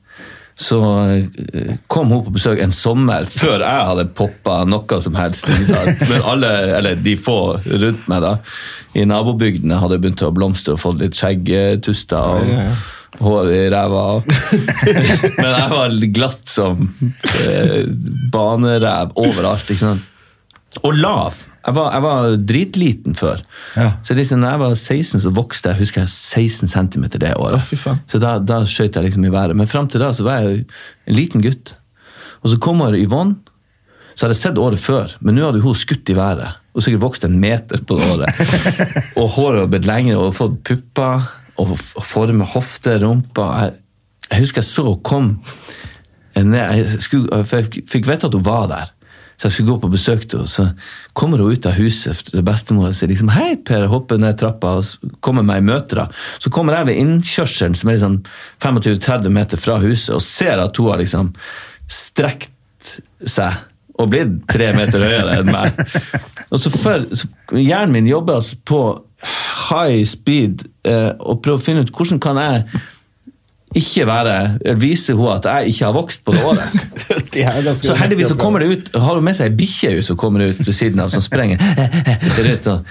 så eh, kom hun på besøk en sommer før jeg hadde poppa noe som helst. Ikke sant? Men alle, eller de få rundt meg da, i nabobygdene hadde begynt å blomstre og fått litt skjeggtuster og hår i ræva. Men jeg var glatt som eh, baneræv overalt. ikke sant? Og lav. Jeg var, jeg var dritliten før.
Ja.
Så liksom, når jeg var 16, så vokste jeg husker jeg, 16 cm det året.
fy faen.
så da, da skøyt jeg liksom i været. Men fram til da så var jeg jo en liten gutt. Og så kommer Yvonne, Så hadde jeg sett året før, men nå hadde hun skutt i været. Hun hadde sikkert vokst en meter på det året. og håret hadde blitt lengre og fått pupper og f- og forme hofte, rumpa. Jeg, jeg husker jeg så hun kom ned, jeg, skulle, for jeg fikk- fikk vite at hun var der. Så jeg skulle gå på besøk til henne, så kommer hun ut av huset til bestemor og sier liksom, hei Per, hopper ned trappa og s- kommer meg i møte. da. Så kommer jeg ved innkjørselen, som er liksom 25-30 meter fra huset, og ser at hun har liksom strekt seg og blitt tre meter høyere enn meg. Og så, før, så Hjernen min jobber altså på high speed eh, og prøver å finne ut hvordan kan jeg ikke være, eller vise henne at jeg ikke har vokst på det året. Så heldigvis så kommer det ut, har hun med seg ei bikkje ut som kommer ut ved siden av, som sprenger. Rundt sånn.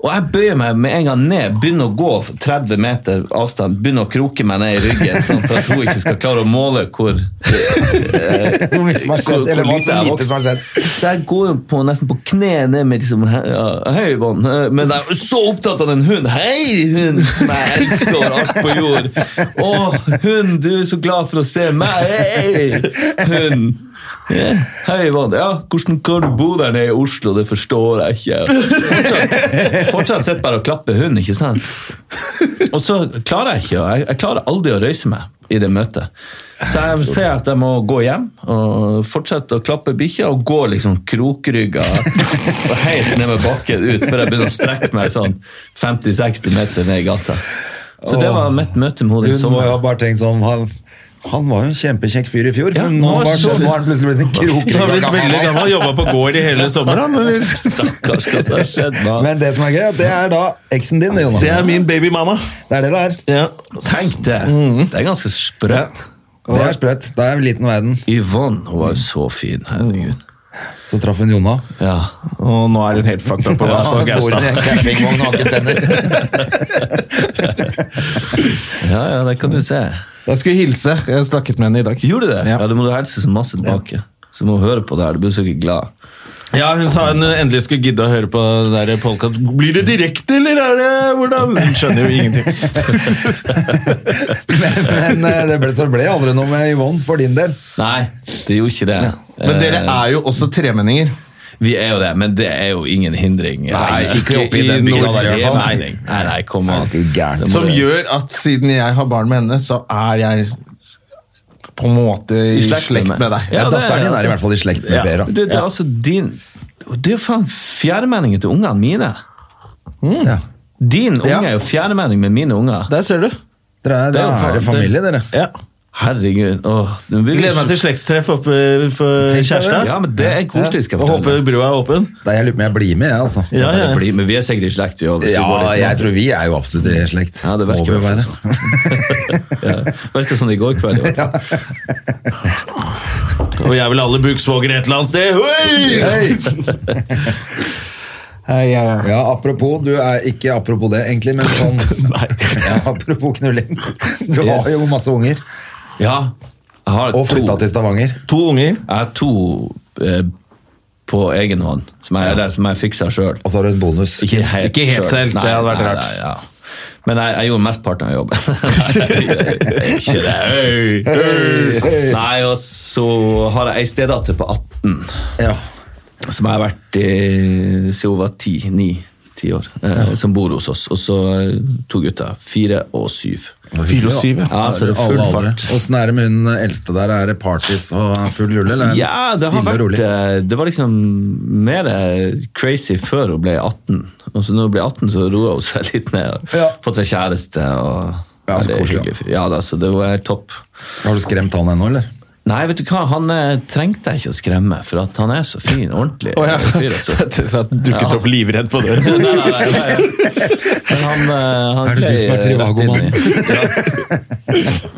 Og jeg bøyer meg med en gang ned, begynner å gå 30 meter avstand, begynner å kroke meg ned i ryggen, sånn for at hun ikke skal klare å måle hvor, eh,
Hvor mye som har skjedd, eller hva som lite som har skjedd.
Så jeg går jo på, nesten på kne ned med liksom ja, Hei, Yvonne. eh, Men jeg er så opptatt av den hunden. Hei, hund som jeg elsker over alt på jord. Å, hund, du er så glad for å se meg. Hei, hund. Ja. Hei, Yvonne. Ja, hvordan kan du bo der nede i Oslo? Det forstår jeg ikke. Fortsatt, fortsatt sitter bare og klapper hund, ikke sant? Og så klarer jeg ikke, å- jeg, jeg klarer aldri å røyse meg i det møtet. Så jeg ser at jeg må gå hjem og fortsette å klappe bikkja og gå liksom krokrygga og helt ned med bakken ut før jeg begynner å strekke meg sånn 50-60 meter ned i gata. Så det var mitt møte med
Hun må
henne i
jo
sommer.
ha bare tenkt sånn han, han var jo en kjempekjekk fyr i fjor,
Ja,
men
nå
nå,
er
bare,
så-
nå har han plutselig blitt en
Du har blitt
krok.
veldig gammel, jobba på gård i hele sommeren. Eller?
Stakkars, hva som har skjedd med han?
Men det som er gøy, det er da eksen din, Jonas.
Det er min babymamma.
Det er det det er.
Ja.
Tenk det! Det er ganske sprøtt.
Det er sprøtt. Det er liten verden.
Yvonne hun var jo så fin. Herregud.
Så traff hun Jonna.
Ja.
Og nå er hun helt fucked up på, på
Han bor i
Gaustad.
en campingvogn og har ikke tenner.
ja, ja, det kan du se.
Jeg skulle hilse. Jeg snakket med henne i dag.
Gjorde du det?
Ja.
Ja, Du må du hilse så masse tilbake. Så må hun høre på det her. Du blir sikkert glad.
Ja, Hun sa hun endelig skulle gidde å høre på det der podcast. Blir det direkte, eller er det hvordan? Hun skjønner jo ingenting.
Men eh, det ble, så ble aldri noe med Yvonne for din del.
Nei, det gjorde ikke det. Eh,
Men dere er jo også tremenninger.
Vi er jo det, men det er jo ingen hindring.
Nei, ikke oppe i den
noe
bygda der i hvert fall.
Nei, nei, nei, nei, kom an.
Er du gæren?
Det må
Som
du-
gjør at siden jeg har barn med henne, så er jeg på en måte i slekt, med deg.
Ja,
Ja,
det er
Datteren din
det,
er i hvert fall i slekt med
Ja.
Vera.
Du, det er altså din Det er jo faen fjerdemeningen til ungene mine.
Ja.
Din unge
Ja.
er jo fjerdemening med mine unger.
Der ser du.
Dere er,
Det
det
er jo
er,
faen-
det familie, dere.
Ja.
Herregud. Åh, nå blir vi-
Gleder meg til slektstreff oppe for
Tenk deg
kjæresten.
det.
Ja, men det er koselig, skal jeg
Og
fortelle.
håper brua er åpen.
Det er jeg lurer på om jeg blir med, jeg, altså.
Ja, ja.
Det blir- Men vi er sikkert i slekt, vi òg.
Ja, jeg tror vi er jo absolutt i slekt.
Ja, det
Må vi
verker
jo være.
Virka sånn i går kveld. i hvert fall.
Og jeg vil alle buksvåger et eller annet sted. Hoi!
Hei! Ja, apropos, du er ikke apropos det, egentlig, men sånn ja, Apropos knulling. Du har
Yes.
jo masse unger,
Ja. Jeg har
og flytta til Stavanger.
To unger.
Jeg har to eh, på egen hånd, som jeg, eller som jeg fiksa sjøl.
Og så har du en bonus.
Ikke helt,
Ikke helt selv, det hadde vært
Nei,
rart.
Nei, ja. Men jeg, jeg gjorde mesteparten av jobben. Nei, ikke det. Øy, øy. Nei, og så har jeg ei stedatter på 18,
Ja.
som jeg har vært i siden hun var 10, 9, 10 år, eh, som bor hos oss. Og så eh, to gutter. Fire og syv.
Fire og syv, ja.
Ja, så det er
Alle
full
aldre.
fart.
Åssen er det med hun eldste der? Er det parties og full rulle, eller? er det
Ja, det har
stille og
vært
rolig?
eh, Det var liksom mer eh, crazy før hun ble 18. Og så når hun ble 18, så roa hun seg litt ned. Og
Ja.
Fått seg kjæreste. Og,
Ja, så
det er
koselig,
hyggelig fyr. Ja, da, så det var helt topp.
Har du skremt han ennå, eller?
Nei, vet du hva, han eh, trengte jeg ikke å skremme, for at han er så fin. Ordentlig
Å, ja.
fyr. altså.
Jeg tror at dukket
Ja.
opp livredd på døren.
Nei, nei, nei, nei. Men han, eh, han
Er det du
klei,
som er
eh, rett inn i-
Trivago-mannen?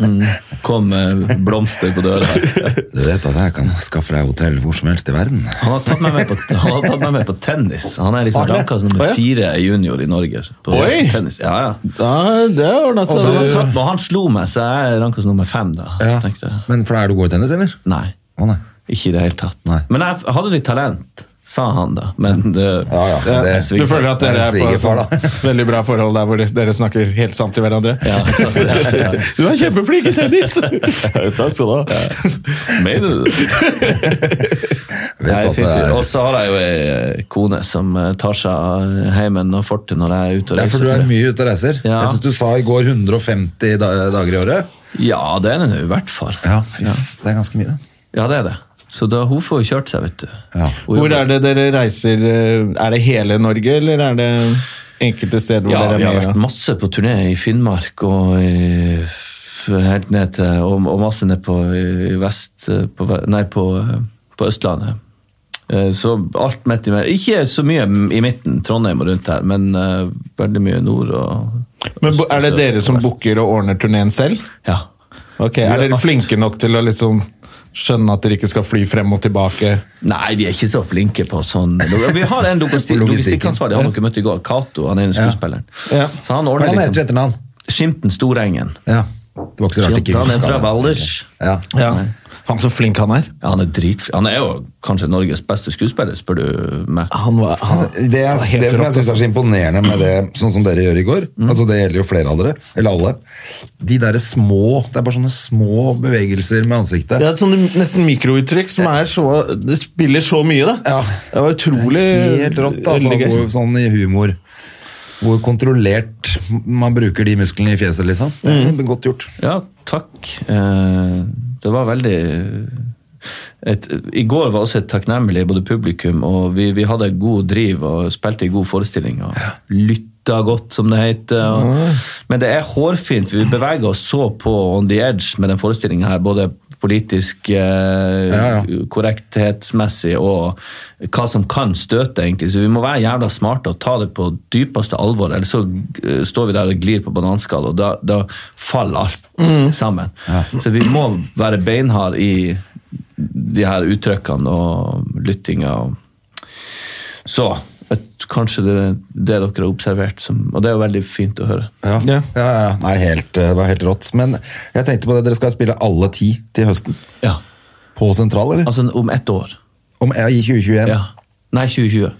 Mm, kom eh, blomster på døra her. Ja.
Du vet at jeg kan skaffe deg hotell hvor som helst i verden.
Han har tatt meg med på, han har tatt meg med på tennis. Han er liksom
Har han det?
ranka som nummer
Å, ja.
fire junior i Norge. På
Oi!
tennis. Ja, ja.
Da, det ordna
Så han, har
seg.
tatt, meg, og han slo meg, så jeg er ranka som nummer fem. da, tenkte jeg.
Men for da er du god i tennis, eller?
Nei,
Å nei.
ikke i det hele tatt.
Nei.
Men jeg f- hadde litt talent, sa han da. Men det,
Ja, ja, det-
jeg
Du
svinger.
føler at dere er på et
Svigerfar, da.
sånt veldig bra forhold der hvor dere snakker helt sant til hverandre?
Ja, så, ja.
Du er kjempeflink i tennis! Takk skal du ha.
Mener du det?
Vet
Nei,
at
fint,
det er
fint. Og så har jeg jo ei kone som eh, tar seg av heimen og fortet når jeg er ute
Det
og
er
reiser.
for du er
tror jeg.
mye ute og reiser.
Ja.
Jeg synes du sa i går 150 da eh, dager i året.
Ja, det er hun i hvert fall.
fy, Det er ganske mye.
Ja, det er det. Så da, hun får jo kjørt seg, vet du.
Ja.
Hun
Hvor
jobber-
er det dere reiser? eh, Er det hele Norge, eller er det enkelte steder hvor
Ja,
dere
vi har
er
vært
med?
masse på turné i Finnmark og i, f- helt ned til Og, og masse ned på i vest eh, på, ve- Nei, på, eh, på Østlandet. Eh, Så alt midt i mer. Ikke så mye m- i midten, Trondheim og rundt her, men eh, veldig mye nord og
Men bo-
øst og
Er det
sør
dere
og
som
vest.
booker og ordner turneen selv?
Ja.
Ok, Er dere flinke nok til å liksom skjønne at dere ikke skal fly frem og tilbake?
Nei, vi er ikke så flinke på sånn Vi har en logisti-
På logistikken.
logistikkansvarlig, han dere møtte i går, Cato. Han ene skuespilleren.
Ja.
Så han
Hva
ordner
er det han heter
liksom
etter navn?
Skimten Storengen.
Ja. Det var ikke så rart ikke
Skimten, han er
huska
fra
det.
Valdres.
Ja.
Han så flink han er.
Ja, han er dritfri. Han er jo kanskje Norges beste skuespiller, spør du meg.
Han var, han,
Det, jeg-
han var helt
det som
rått,
jeg syns er så imponerende med det, sånn som dere gjør i går altså Det gjelder jo flere av dere, eller alle. De derre små Det er bare sånne små bevegelser med ansiktet.
Det er et sånne nesten mikrouttrykk som er så Det spiller så mye, da.
Ja.
Det var utrolig
Helt rått, altså,
veldig gøy.
hvor, sånn i humor. Hvor kontrollert man bruker de musklene i fjeset, liksom. Det er Godt gjort.
Ja, takk. Eh, Det var veldig eh, et, I går var også et takknemlig både publikum, og vi, vi hadde god driv og spilte i god forestilling. og Lytta godt, som det heter. Og, men det er hårfint. Vi beveger oss så på on the edge med den forestillinga her. både Politisk, eh,
Ja, ja.
korrekthetsmessig og hva som kan støte, egentlig. Så vi må være jævla smarte og ta det på dypeste alvor, ellers så eh, står vi der og glir på bananskall, og da, da faller alt sammen. Så vi må være beinhard i de her uttrykkene og lyttinga. og- Så et, kanskje det, det dere har observert, som, og det er jo veldig fint å høre.
Ja,
Ja.
ja, ja. Nei, helt, eh, det var helt rått. Men jeg tenkte på det, dere skal spille alle ti til høsten.
Ja,
På sentral, eller?
Altså om ett år.
Om, ja, I 2021. Ja.
Altså- Ja. Nei, 2020.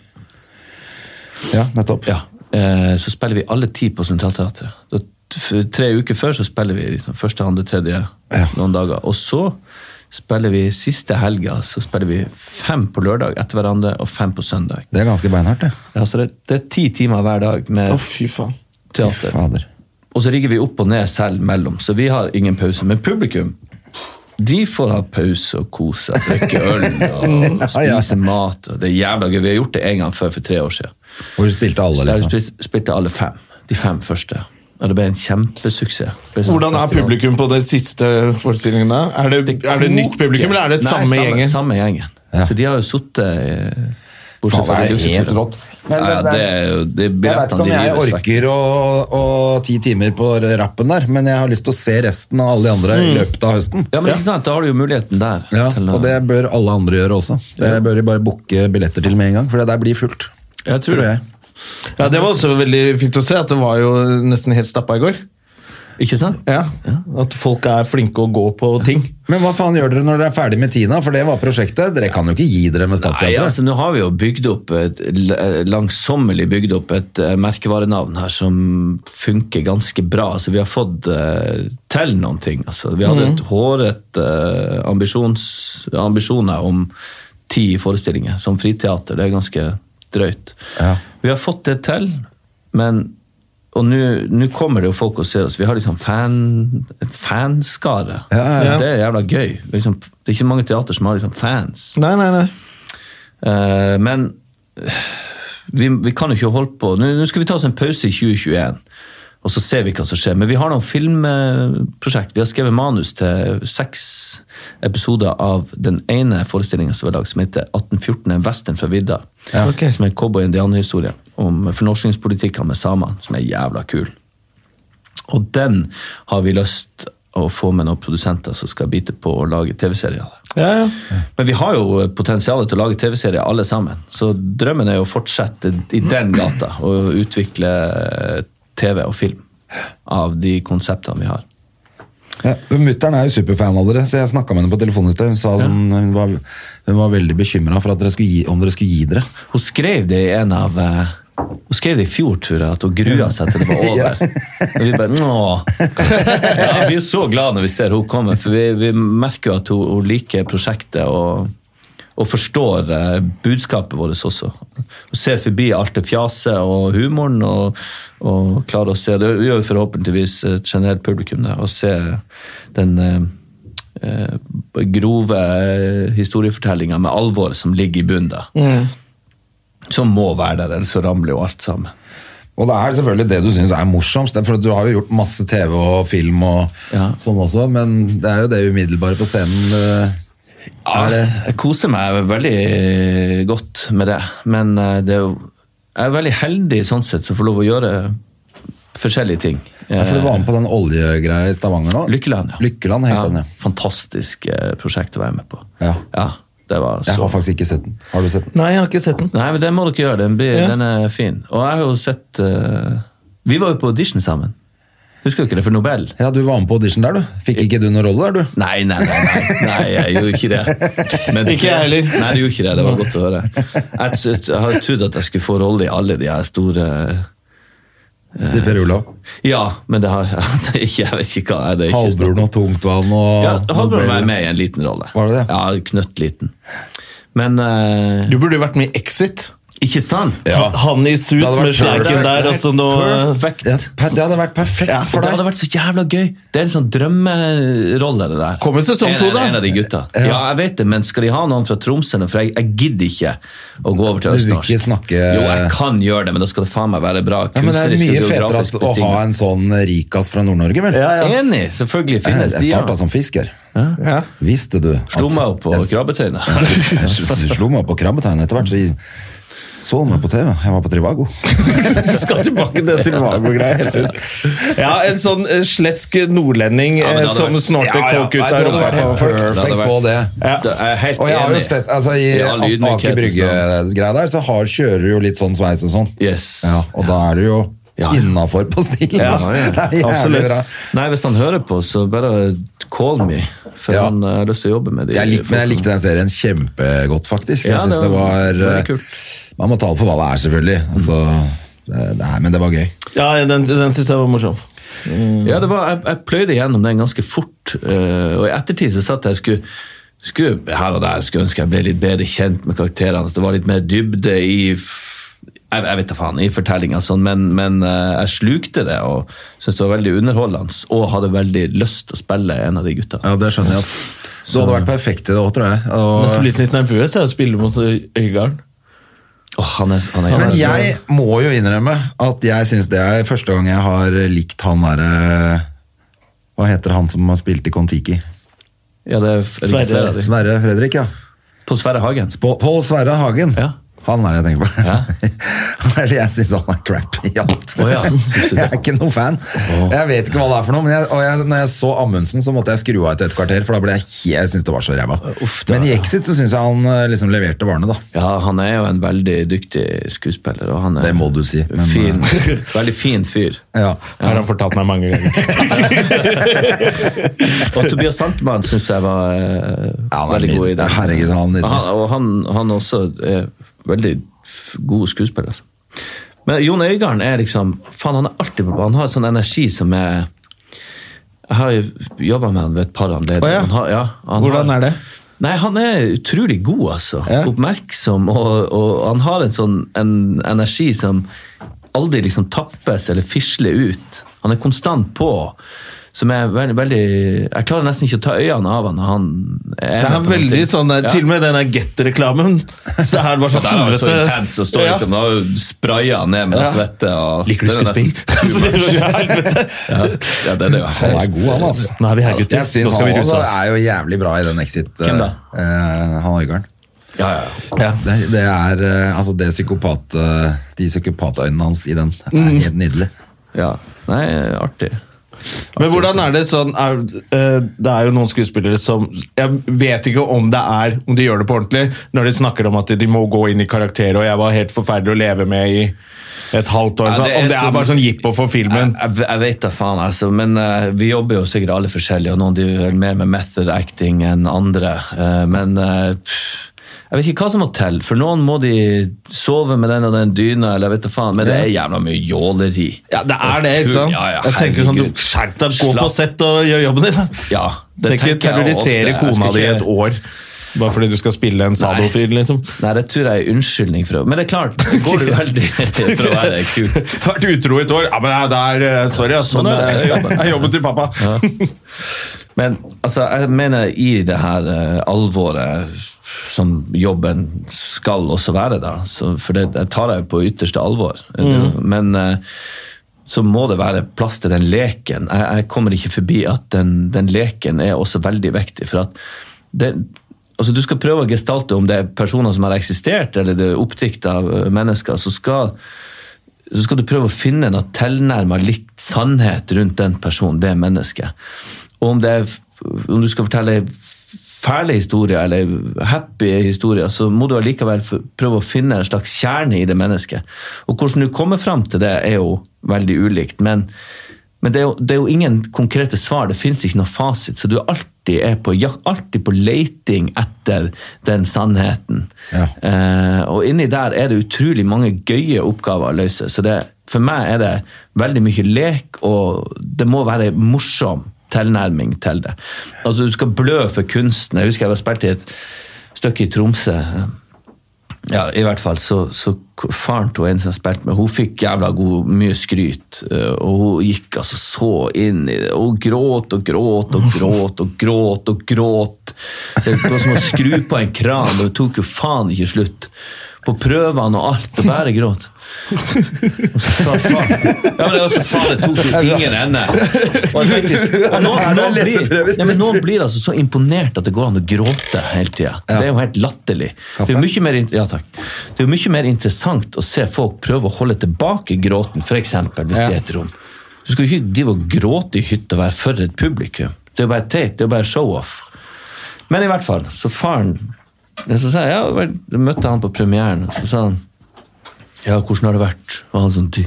nettopp.
Ja, eh, så spiller vi alle ti på Sentralteatret. Da, f- tre uker før så spiller vi liksom, første, andre, tredje noen dager. Og så spiller vi siste helga, så spiller vi fem på lørdag etter hverandre og fem på søndag.
Det er ganske beinhardt, det.
Ja, så det, det er ti timer hver dag med
Å, fy faen.
teater.
Fader.
Og så rigger vi opp og ned selv mellom, så vi har ingen pause. Men publikum, de får ha pause og kose seg, drikke øl og
Ja, ja.
spise mat. Og det er jævla gøy. Vi har gjort det en gang før for tre år siden.
Hvor du spilte alle,
Jeg
liksom.
spil- spilte alle fem. De fem første. Og det ble en kjempesuksess. Det ble sånn
Hvordan er
festival.
publikum på den siste forestillingen? da? Er det, er det nytt publikum, eller er det
Nei,
samme gjengen?
Samme gjengen. Så de har jo eh, sittet
Faen, det er helt rått. Men
ja,
det-
det er jo det er
Jeg vet
billettene
ikke om
de
jeg
rives
orker
vekk.
å, å ti timer på rappen der, men jeg har lyst til å se resten av alle de andre i løpet av høsten.
Mm. Ja, men ikke sant, Da har du jo muligheten der.
Ja,
til eh, å-
og det bør alle andre gjøre også. Det bør de bare booke billetter til med en gang, for det der blir fullt.
jeg tror,
Tror jeg.
det.
Ja, Det var også veldig fint å se, at det var jo nesten helt stappa i går.
Ikke sant?
Ja, At folk er flinke å gå på ting.
Men hva faen gjør dere når dere er ferdig med Tina? For det var prosjektet. Dere kan jo ikke gi dere med
Nei,
Statsteatret.
altså Nå har vi jo bygd opp et, l- eh, langsommelig bygd opp et eh, merkevarenavn her som funker ganske bra. Altså, vi har fått eh, til noen ting. Altså, vi
Mhm.
hadde et hårete eh, ambisjons, ambisjoner om ti forestillinger som friteater. Det er ganske drøyt.
Ja.
Vi har fått det til, men og nå nå kommer det jo folk og ser oss. Vi har liksom fan, et fanskare.
Ja, ja, ja.
Det er jævla gøy. Liksom, det er ikke mange teater som har liksom fans.
Nei, nei, nei.
Eh, men eh, vi, vi kan jo ikke holde på. Nå, nå skal vi ta oss en pause i 2021, og så ser vi hva som skjer. Men vi har noen filmprosjekt. Vi har skrevet manus til seks episoder av den ene forestillinga som er lagd, som heter 1814 en western fra vidda.
ok.
Som er en cowboy-indianerhistorie om fornorskningspolitikken med samene, som er jævla kul. Og den har vi lyst å få med noen produsenter som skal bite på å lage TV-serier. av det.
Ja, ja.
Men vi har jo potensialet til å lage TV-serier alle sammen. Så drømmen er jo å fortsette i den gata og utvikle TV og film av de konseptene vi har.
Ja, Mutter'n er jo superfan av dere, så jeg snakka med henne på telefonen i sted. Hun sa sånn, hun, var, hun var veldig bekymra for at dere skulle gi, om dere skulle gi dere.
Hun skrev det i en av eh, hun skrev det i fjor, tror jeg, at hun grua seg til det var over. Og vi bare, nå. Ja, vi er jo så glad når vi ser hun komme, for vi, vi merker jo at hun, hun liker prosjektet og, og forstår eh, budskapet vårt også. Hun ser forbi alt det fjaset og humoren og, og klarer å se det. Det gjør jo forhåpentligvis eh, et generelt publikum det, å se den eh, eh, grove eh, historiefortellinga med alvor som ligger i bunnen. da. Som må være der, ellers så ramler jo alt sammen.
Og det er selvfølgelig det du syns er morsomst, for du har jo gjort masse TV og film og
Ja.
sånn også, men det er jo det umiddelbare på scenen. eh, Er det,
Jeg koser meg veldig godt med det, men eh, det er jo, jeg er veldig heldig sånn sett som får lov å gjøre forskjellige ting.
ja, for du var
Eh,
med på den oljegreia i Stavanger nå?
Lykkeland, ja.
Lykkeland het
Ja,
den, ja.
Fantastisk eh, prosjekt å være med på.
Ja.
det var
Jeg
så
har faktisk ikke sett den. Har du sett den?
Nei, jeg har ikke sett den.
Nei, men den må dere gjøre. Den, blir,
Ja.
den er fin. Og jeg har jo sett eh, Vi var jo på audition sammen. Husker dere det? For Nobel.
Ja, du var med på audition der, du. Fikk ikke du noen rolle der, du?
Nei, nei, nei, nei, nei, jeg gjorde ikke det. Men-
Ikke jeg heller.
Nei, du gjorde ikke det. Det var godt å høre. Jeg, t- t- har trodd at jeg skulle få rolle i alle de her store Eh,
Til Per Olav.
Ja, men det har jeg ikke. Jeg vet ikke hva det er. ikke snakk om.
Halvbroren og Tungtvann og
Ja, Halvbroren var med i en liten rolle.
Var det det?
Ja, knøttliten. Men eh,
Du burde jo vært med i Exit.
ikke sant?
Ja.
Han i suit
Det hadde vært
med sleiken
perfekt.
der. altså, og så noe...
Perfekt.
Ja, per- det hadde vært perfekt
Ja,
for
det
deg.
hadde vært så jævla gøy. Det er en sånn drømmerolle, det der.
Kom ut sesong
En-
to, da.
En av de gutta. Ja. jeg vet det, men skal de ha noen fra Tromsø nå? For jeg, jeg gidder ikke å gå over til
Du vil
østnorsk.
ikke snakke
Jo, jeg kan gjøre det, men da skal det faen meg være bra
ja, men Det er
kunstnerisk
mye
og
fetere at,
geografisk
å ha
betinget.
en sånn rikas fra Nord-Norge, vel?
Ja, ja.
Enig! Selvfølgelig
Jeg
finnes de, ja.
starta som fisker.
Ja.
Visste du at-
Slo meg opp på
Jeg-
krabbetøyene.
Jeg slo meg opp på krabbetegn etter hvert, så jeg så meg på TV. Jeg var på Trivago.
Du skal tilbake til Trivago-greia. Ja, en sånn eh, slesk nordlending
Ja, men det
eh,
hadde
som
vært-
snorter coke ut
Nei,
av
det hadde vært
rumpa.
helt
på folk.
perfekt på det.
Ja.
Da er jeg helt
Og jeg har jo
enig.
sett, altså I,
I all
i Aker
ydmykhetens
Brygge-greia der, så har, kjører du jo litt sånn sveis og sånn.
Yes.
Ja, og da er du jo
Ja.
innafor på stilen.
Ja,
altså.
ja, ja.
Det er jævlig
Absolutt.
bra.
Nei, hvis han hører på, så bare call me. For
Ja.
han eh, har lyst til å jobbe med de
Jeg lik, men jeg likte den serien kjempegodt, faktisk. Jeg
Ja,
synes
det
det
var-
var, eh,
veldig kult.
Man må tale for hva det er, selvfølgelig. Altså, det- nei, men det var gøy.
Ja, den, den syns jeg var morsom.
Ja, det var, jeg, jeg pløyde gjennom den ganske fort, eh, og i ettertid så satt jeg og skulle, skulle her og der, skulle ønske jeg ble litt bedre kjent med karakterene, at det var litt mer dybde i f- jeg, jeg vet da faen, i fortellinga, sånn, men, men eh, jeg slukte det og syntes det var veldig underholdende. Og hadde veldig lyst til å spille en av de gutta.
Ja, det skjønner jeg. ass. Du hadde vært perfekt i det òg, tror jeg.
Men så
Og,
blitt litt nervøs jeg, å spille mot Øygarden.
Åh, han er, han er,
men
jævlig-
jeg må jo innrømme at jeg syns det er første gang jeg har likt han derre Hva heter han som har spilt i Kon-Tiki?
ja, det er, f- er det
Sverre-
ikke flere av de.
Sverre Fredrik, ja.
På Sverre Hagen.
På- Pål Sverre Hagen.
Ja.
Han er det jeg tenker på.
Ja.
Eller jeg syns han er crap i alt.
Å ja, synes du det?
Jeg er ikke noen fan. Jeg vet ikke hva det er for noe, men jeg, og jeg, når jeg så Amundsen, så måtte jeg skru av etter et kvarter, for da ble jeg helt Jeg syntes det var så ræva.
Uff, da.
Men i Exit så syns jeg han eh, liksom leverte varene, da.
Ja, han er jo en veldig dyktig skuespiller. Og han er
Det må du si, men- eh,
fin, veldig fin fyr.
Ja.
Har han fortalt meg mange ganger.
Og Tobias Sandmann syns jeg var eh,
Ja, han er
veldig god i
nydelig.
det.
Herregud, han er nydelig.
Og han, og han, han også er veldig f- god skuespiller. Altså. Men Jon Øigarden er liksom Faen, han er alltid på Han har sånn energi som er Jeg har jobba med han ved et par anledninger.
Å, ja.
Han har- ja, han
Hvordan
har-
er det?
Nei, Han er utrolig god, altså.
Ja.
Oppmerksom. Og, og han har en sånn en energi som aldri liksom tappes eller fisler ut. Han er konstant på. Som er veldig, veldig Jeg klarer nesten ikke å ta øynene av han når han er
Det
med
er
på noen
veldig
ting.
sånn der,
Ja.
Til og med den der Get-reklamen. Så her var
Ja,
så
Der er han så
sånn helvete-
intens og står
Ja.
liksom og sprayer ned med
Ja.
svette. Og
Liker du
Det er nesten-
skuespill? Helvete.
Ja, ja, det er det jo.
Han er god, han, altså.
Nå er vi her, gutter.
Jeg syns
Nå skal
han
vi ruse
også
oss.
er jo jævlig bra i den Exit.
Hvem da?
eh, eh, han Øygarden.
Ja, ja.
Ja.
Det, det er eh, altså det psykopat, eh, de psykopatøynene hans i den er helt nydelig.
ja. Nei, artig.
Men hvordan er det sånn er, eh, Det er jo noen skuespillere som Jeg vet ikke om det er Om de gjør det på ordentlig, når de snakker om at de må gå inn i karakter, og jeg var helt forferdelig å leve med i et halvt år.
Ja,
sånn.
det er
Om det
som-
er bare sånn jippo for filmen.
Jeg, jeg, jeg vet da faen, altså. Men eh, vi jobber jo sikkert alle forskjellig, og noen driver vel mer med method acting enn andre. eh, men eh, pff, jeg vet ikke hva som må til. For noen må de sove med den og den dyna, eller jeg vet da faen. Men det er jævla mye jåleri.
Ja, det er det, ikke sant?
Ja, ja,
jeg tenker sånn, du
herregud.
Skjerp deg, gå
Slapp.
på sett og gjør jobben din. da.
Ja,
Det tenker
jeg
terrorisere
ofte. Jeg skal
kona di i
ikke-
et år bare fordi du skal spille en sadofyr, liksom.
Nei, det tror jeg er unnskyldning for å Men det er klart, det går jo veldig for å være kuk.
Vært utro i et år. Ja, men det er, eh, sorry, ass,
Sånn
men
er det.
det er jobben- det er jobben til pappa.
Men altså, jeg mener i det her eh, alvoret som jobben skal også være, da. Så, for det, det tar jeg jo på ytterste alvor. Men eh, så må det være plass til den leken. Jeg, jeg kommer ikke forbi at den, den leken er også veldig viktig. For at det, altså, du skal prøve å gestalte om det er personer som har eksistert, eller det er oppdikta mennesker. så skal så skal du prøve å finne noe tilnærma likt sannhet rundt den personen, det mennesket. Og om, det er, om du skal fortelle ei fæle historie eller ei happy historie, så må du allikevel f- prøve å finne en slags kjerne i det mennesket. Og hvordan du kommer fram til det, er jo veldig ulikt. Men, men det, er jo, det er jo ingen konkrete svar, det fins ikke noe fasit, så du er alltid er på, jak- alltid på leiting etter den sannheten.
Ja.
Eh, og inni der er det utrolig mange gøye oppgaver å løse. Så det, for meg er det veldig mye lek, og det må være en morsom tilnærming til det. Altså, du skal blø for kunsten. Jeg husker jeg var spilt i et stykke i Tromsø. Ja, i hvert fall, så, så k- Faren til en som jeg spilte med, hun fikk jævla god, mye skryt. eh, Og hun gikk altså så inn i det. og Hun gråt og gråt og gråt og gråt. og gråt. Det var som å skru på en kran, og det tok jo faen ikke slutt. På prøvene og alt, og bare gråt. Og så sa far Ja, men det var så faen, det tok jo ingen ende. Og jeg tenkte, og noen,
Er det
noen, blir,
leseprøver?
ja, men noen blir altså så imponert at det går an å gråte hele tida. Det er jo helt latterlig. Det er jo mye mer, in- ja, takk. Det er jo mye mer interessant å se folk prøve å holde tilbake gråten, f.eks. hvis det er et rom. Du skal jo ikke drive og gråte i hytta og være for et publikum. Det er jo bare teit. Det er jo bare show-off. Men i hvert fall, så faren så sa jeg, ja, vel, møtte han på premieren, og så sa han ja, hvordan har det vært? Og han, sånn, ty-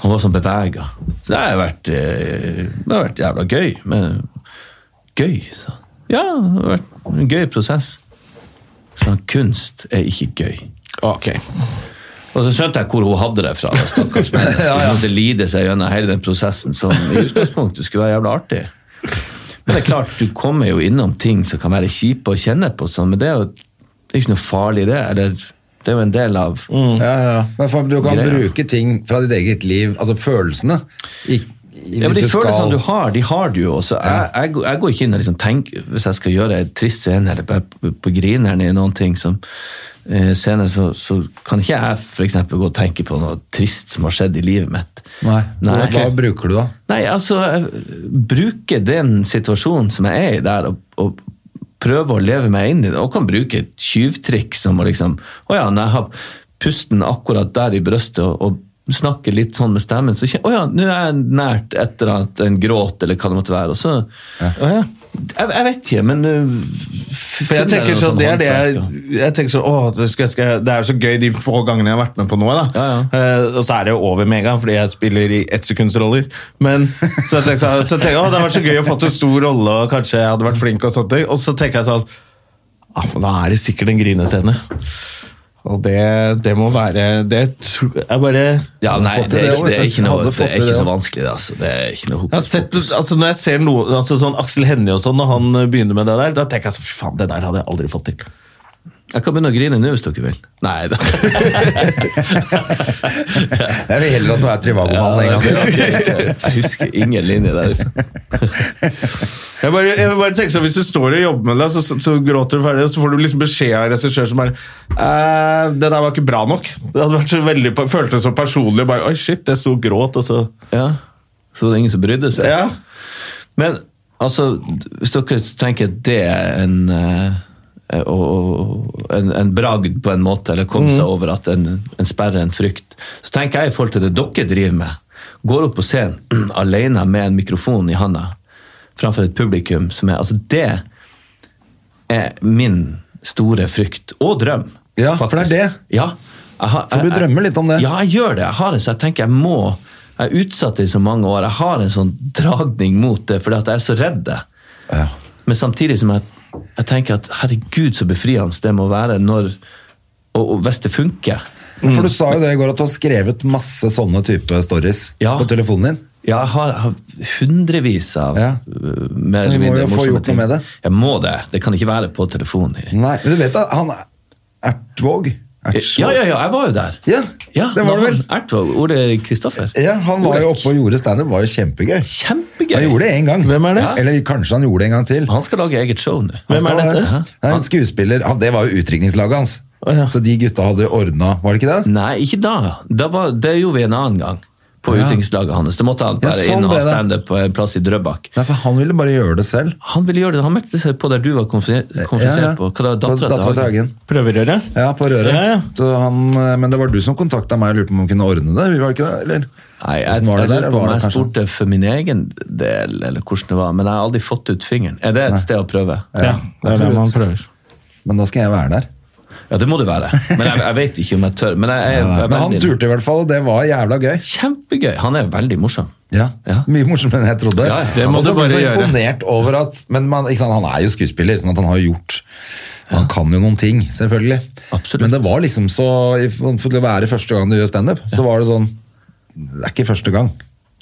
han var sånn bevega. Så det har vært, eh, det har vært jævla gøy. Men gøy, sa han. Ja, det har vært en gøy prosess. Så han, kunst er ikke gøy.
Ok.
Og så skjønte jeg hvor hun hadde det fra. Det stakkars mennesket. Hun måtte lide seg gjennom hele den prosessen som i utgangspunktet skulle være jævla artig. Men det er klart, du kommer jo innom ting som kan være kjipe å kjenne på, sånn, men det er jo det er ikke noe farlig, det. Eller, det er jo en del av
Ja, ja. Men for, du kan
Greier.
bruke ting fra ditt eget liv, altså følelsene. I, i,
Ja, men
hvis
De
du skal-
følelsene du har, de har du jo. Så jeg, jeg, går- jeg går ikke inn og liksom tenker Hvis jeg skal gjøre en trist scene eller bare på, på grineren i noen ting som eh, scene, så, så kan ikke jeg for eksempel gå og tenke på noe trist som har skjedd i livet mitt.
Nei.
Nei.
Hva bruker du da?
Nei, altså jeg Bruke den situasjonen som jeg er i der, og, og prøve å leve meg inn i det. Og kan bruke et tyvtrikk som å liksom Å ja, når jeg har pusten akkurat der i brøstet og, og snakker litt sånn med stemmen, så kjenner jeg Å ja, nå er jeg nært et eller annet, en gråt eller hva det måtte være. Og så Å ja. Jeg, jeg vet ikke, men øh,
For jeg tenker sånn, det er det jeg, jeg tenker sånn, åh, det, skal, skal, jeg- det er så gøy de få gangene jeg har vært med på noe, da.
Ja,
Eh, og så er det jo over med en gang, fordi jeg spiller i ettsekundsroller. Men så jeg tenker sånn, så tenker jeg, åh, det har vært så gøy å få til stor rolle, og kanskje jeg hadde vært flink og sånne ting. Og så tenker jeg sånn, ah, for da er det sikkert en grinescene. Og det, det må være, det tror jeg bare...
Ja, nei,
Hadde fått til
det er
det
ikke,
også,
det
vet
er
du.
ikke, noe,
Hadde
det
fått
er
til
ikke
det
så
også.
vanskelig, altså. Det er ikke
Jeg
noe
har
hokus
sett, altså når jeg ser noe, altså sånn Aksel Hennie og sånn, når han eh, begynner med det der, da tenker jeg sånn, fy faen, det der hadde jeg aldri fått til.
Jeg kan begynne å grine nå hvis dere vil.
Nei, da.
Jeg vil heller at du er Trivago-mannen en gang.
Jeg husker ingen linje der.
Jeg bare, jeg bare tenker sånn, Hvis du står og jobber med det, så, så, så gråter du ferdig, og så får du liksom beskjed av en regissør som bare eh, 'Det der var ikke bra nok.' Det hadde vært så veldig, føltes så personlig. bare, Oi, shit, jeg sto og gråt, og så
Ja, Så var det ingen som brydde seg.
Ja.
Men altså, hvis dere tenker at det er en eh, og- og- en, en bragd på en måte, eller komme
Mm.
seg over at en, en sperre, en frykt. Så tenker jeg i forhold til det dere driver med. Går opp på scenen alene med en mikrofon i handa framfor et publikum som er Altså, det er min store frykt og drøm.
Ja, for det er
faktisk.
det.
Ja, Jeg har-
For du
jeg-
drømmer litt om det.
Ja, jeg gjør det. Jeg har det, så jeg tenker jeg må Jeg er utsatt i så mange år. Jeg har en sånn dragning mot det fordi at jeg er så redd det.
Ja.
Men samtidig som jeg, jeg tenker at herregud, så befriende det må være når og, og hvis det funker. Mm.
For du sa jo det i går at du har skrevet masse sånne type stories
Ja.
på telefonen din.
Ja, jeg har, jeg har hundrevis av
Ja.
øh, mer
Men
eller
vi må
mindre
jo få gjort
morsomme
noe
ting.
med det.
Jeg må det. Det kan ikke være på telefonen.
Nei, men du vet at han Ertvåg Ertsvåg?
Ja, ja, ja, jeg var jo der.
Ja, det var
da
det vel. Eh,
han Ertvåg, Ole Kristoffer.
Ja, han var jo
Olek.
oppe og gjorde standup. Var jo kjempegøy.
Kjempegøy!
Han gjorde det én gang.
Hvem er det?
Eller kanskje han gjorde det en gang til.
Han skal lage eget show nå.
Hvem er
skal-
dette?
Det er en skuespiller. Han, det var jo utrykningslaget hans.
Å, ja.
Så de gutta hadde ordna, var det ikke det?
Nei, ikke da. da var, det gjorde vi en annen gang. På
Ja.
utenrikslaget hans. Da måtte han
Ja,
bare
sånn
inn og
ble
ha
det.
standup på en plass i Drøbak.
Nei, for han ville bare gjøre det selv.
Han ville gjøre det, han meldte seg på der du var konfirmert
Ja, ja.
på. Hva da, dattera
Datteren
til Hagen?
Prøverøre?
Ja, på røret.
Ja, ja.
Så han, eh, men det var du som kontakta meg og lurte på om han kunne ordne det? Var det ikke det? Eller?
Nei, jeg,
Hvordan
jeg,
var det der?
lurer på
Var
om
det
jeg
kanskje-
spurte for min egen del, eller hvordan det var, men jeg har aldri fått ut fingeren. Er det et sted å prøve?
Ja, det er det man prøver.
Men da skal jeg være der.
Ja, det må det være. Men jeg, jeg vet ikke om jeg tør. Men, jeg, jeg, jeg, er
Men han
veldig-
turte i hvert fall, og det var jævla gøy.
Kjempegøy! Han er veldig morsom.
Ja,
Ja.
Mye morsommere enn jeg trodde.
Ja, ja, det må
og så
du
ble jeg
bare
så
gjøre.
imponert over at Men man, ikke sant, han er jo skuespiller, sånn at han har gjort Han kan jo noen ting, selvfølgelig.
Absolutt.
Men det var liksom så For til å være første gang du gjør standup, så var det sånn Det er ikke første gang.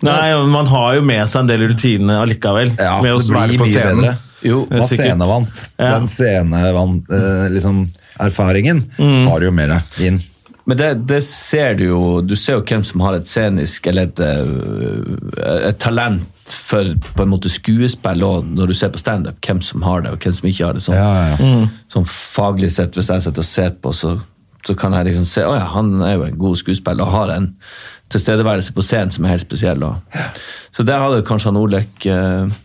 Nei, man har jo med seg en del rutiner allikevel.
Ja,
med
for
å
det
være
blir
på
mye
scenen.
bedre.
Jo,
det er
Man
sikkert.
scenevant.
Ja.
Den scenevant eh, liksom, erfaringen tar du jo med deg inn.
Men det, det ser du jo Du ser jo hvem som har et scenisk eller et, øh, et talent for på en måte skuespill og når du ser på standup, hvem som har det og hvem som ikke har det. Sånn,
Ja, ja, ja.
sånn faglig sett, hvis jeg sitter og ser på, så, så kan jeg liksom se Å ja, han er jo en god skuespiller og har en tilstedeværelse på scenen som er helt spesiell. Og. Så der hadde kanskje han Olek eh,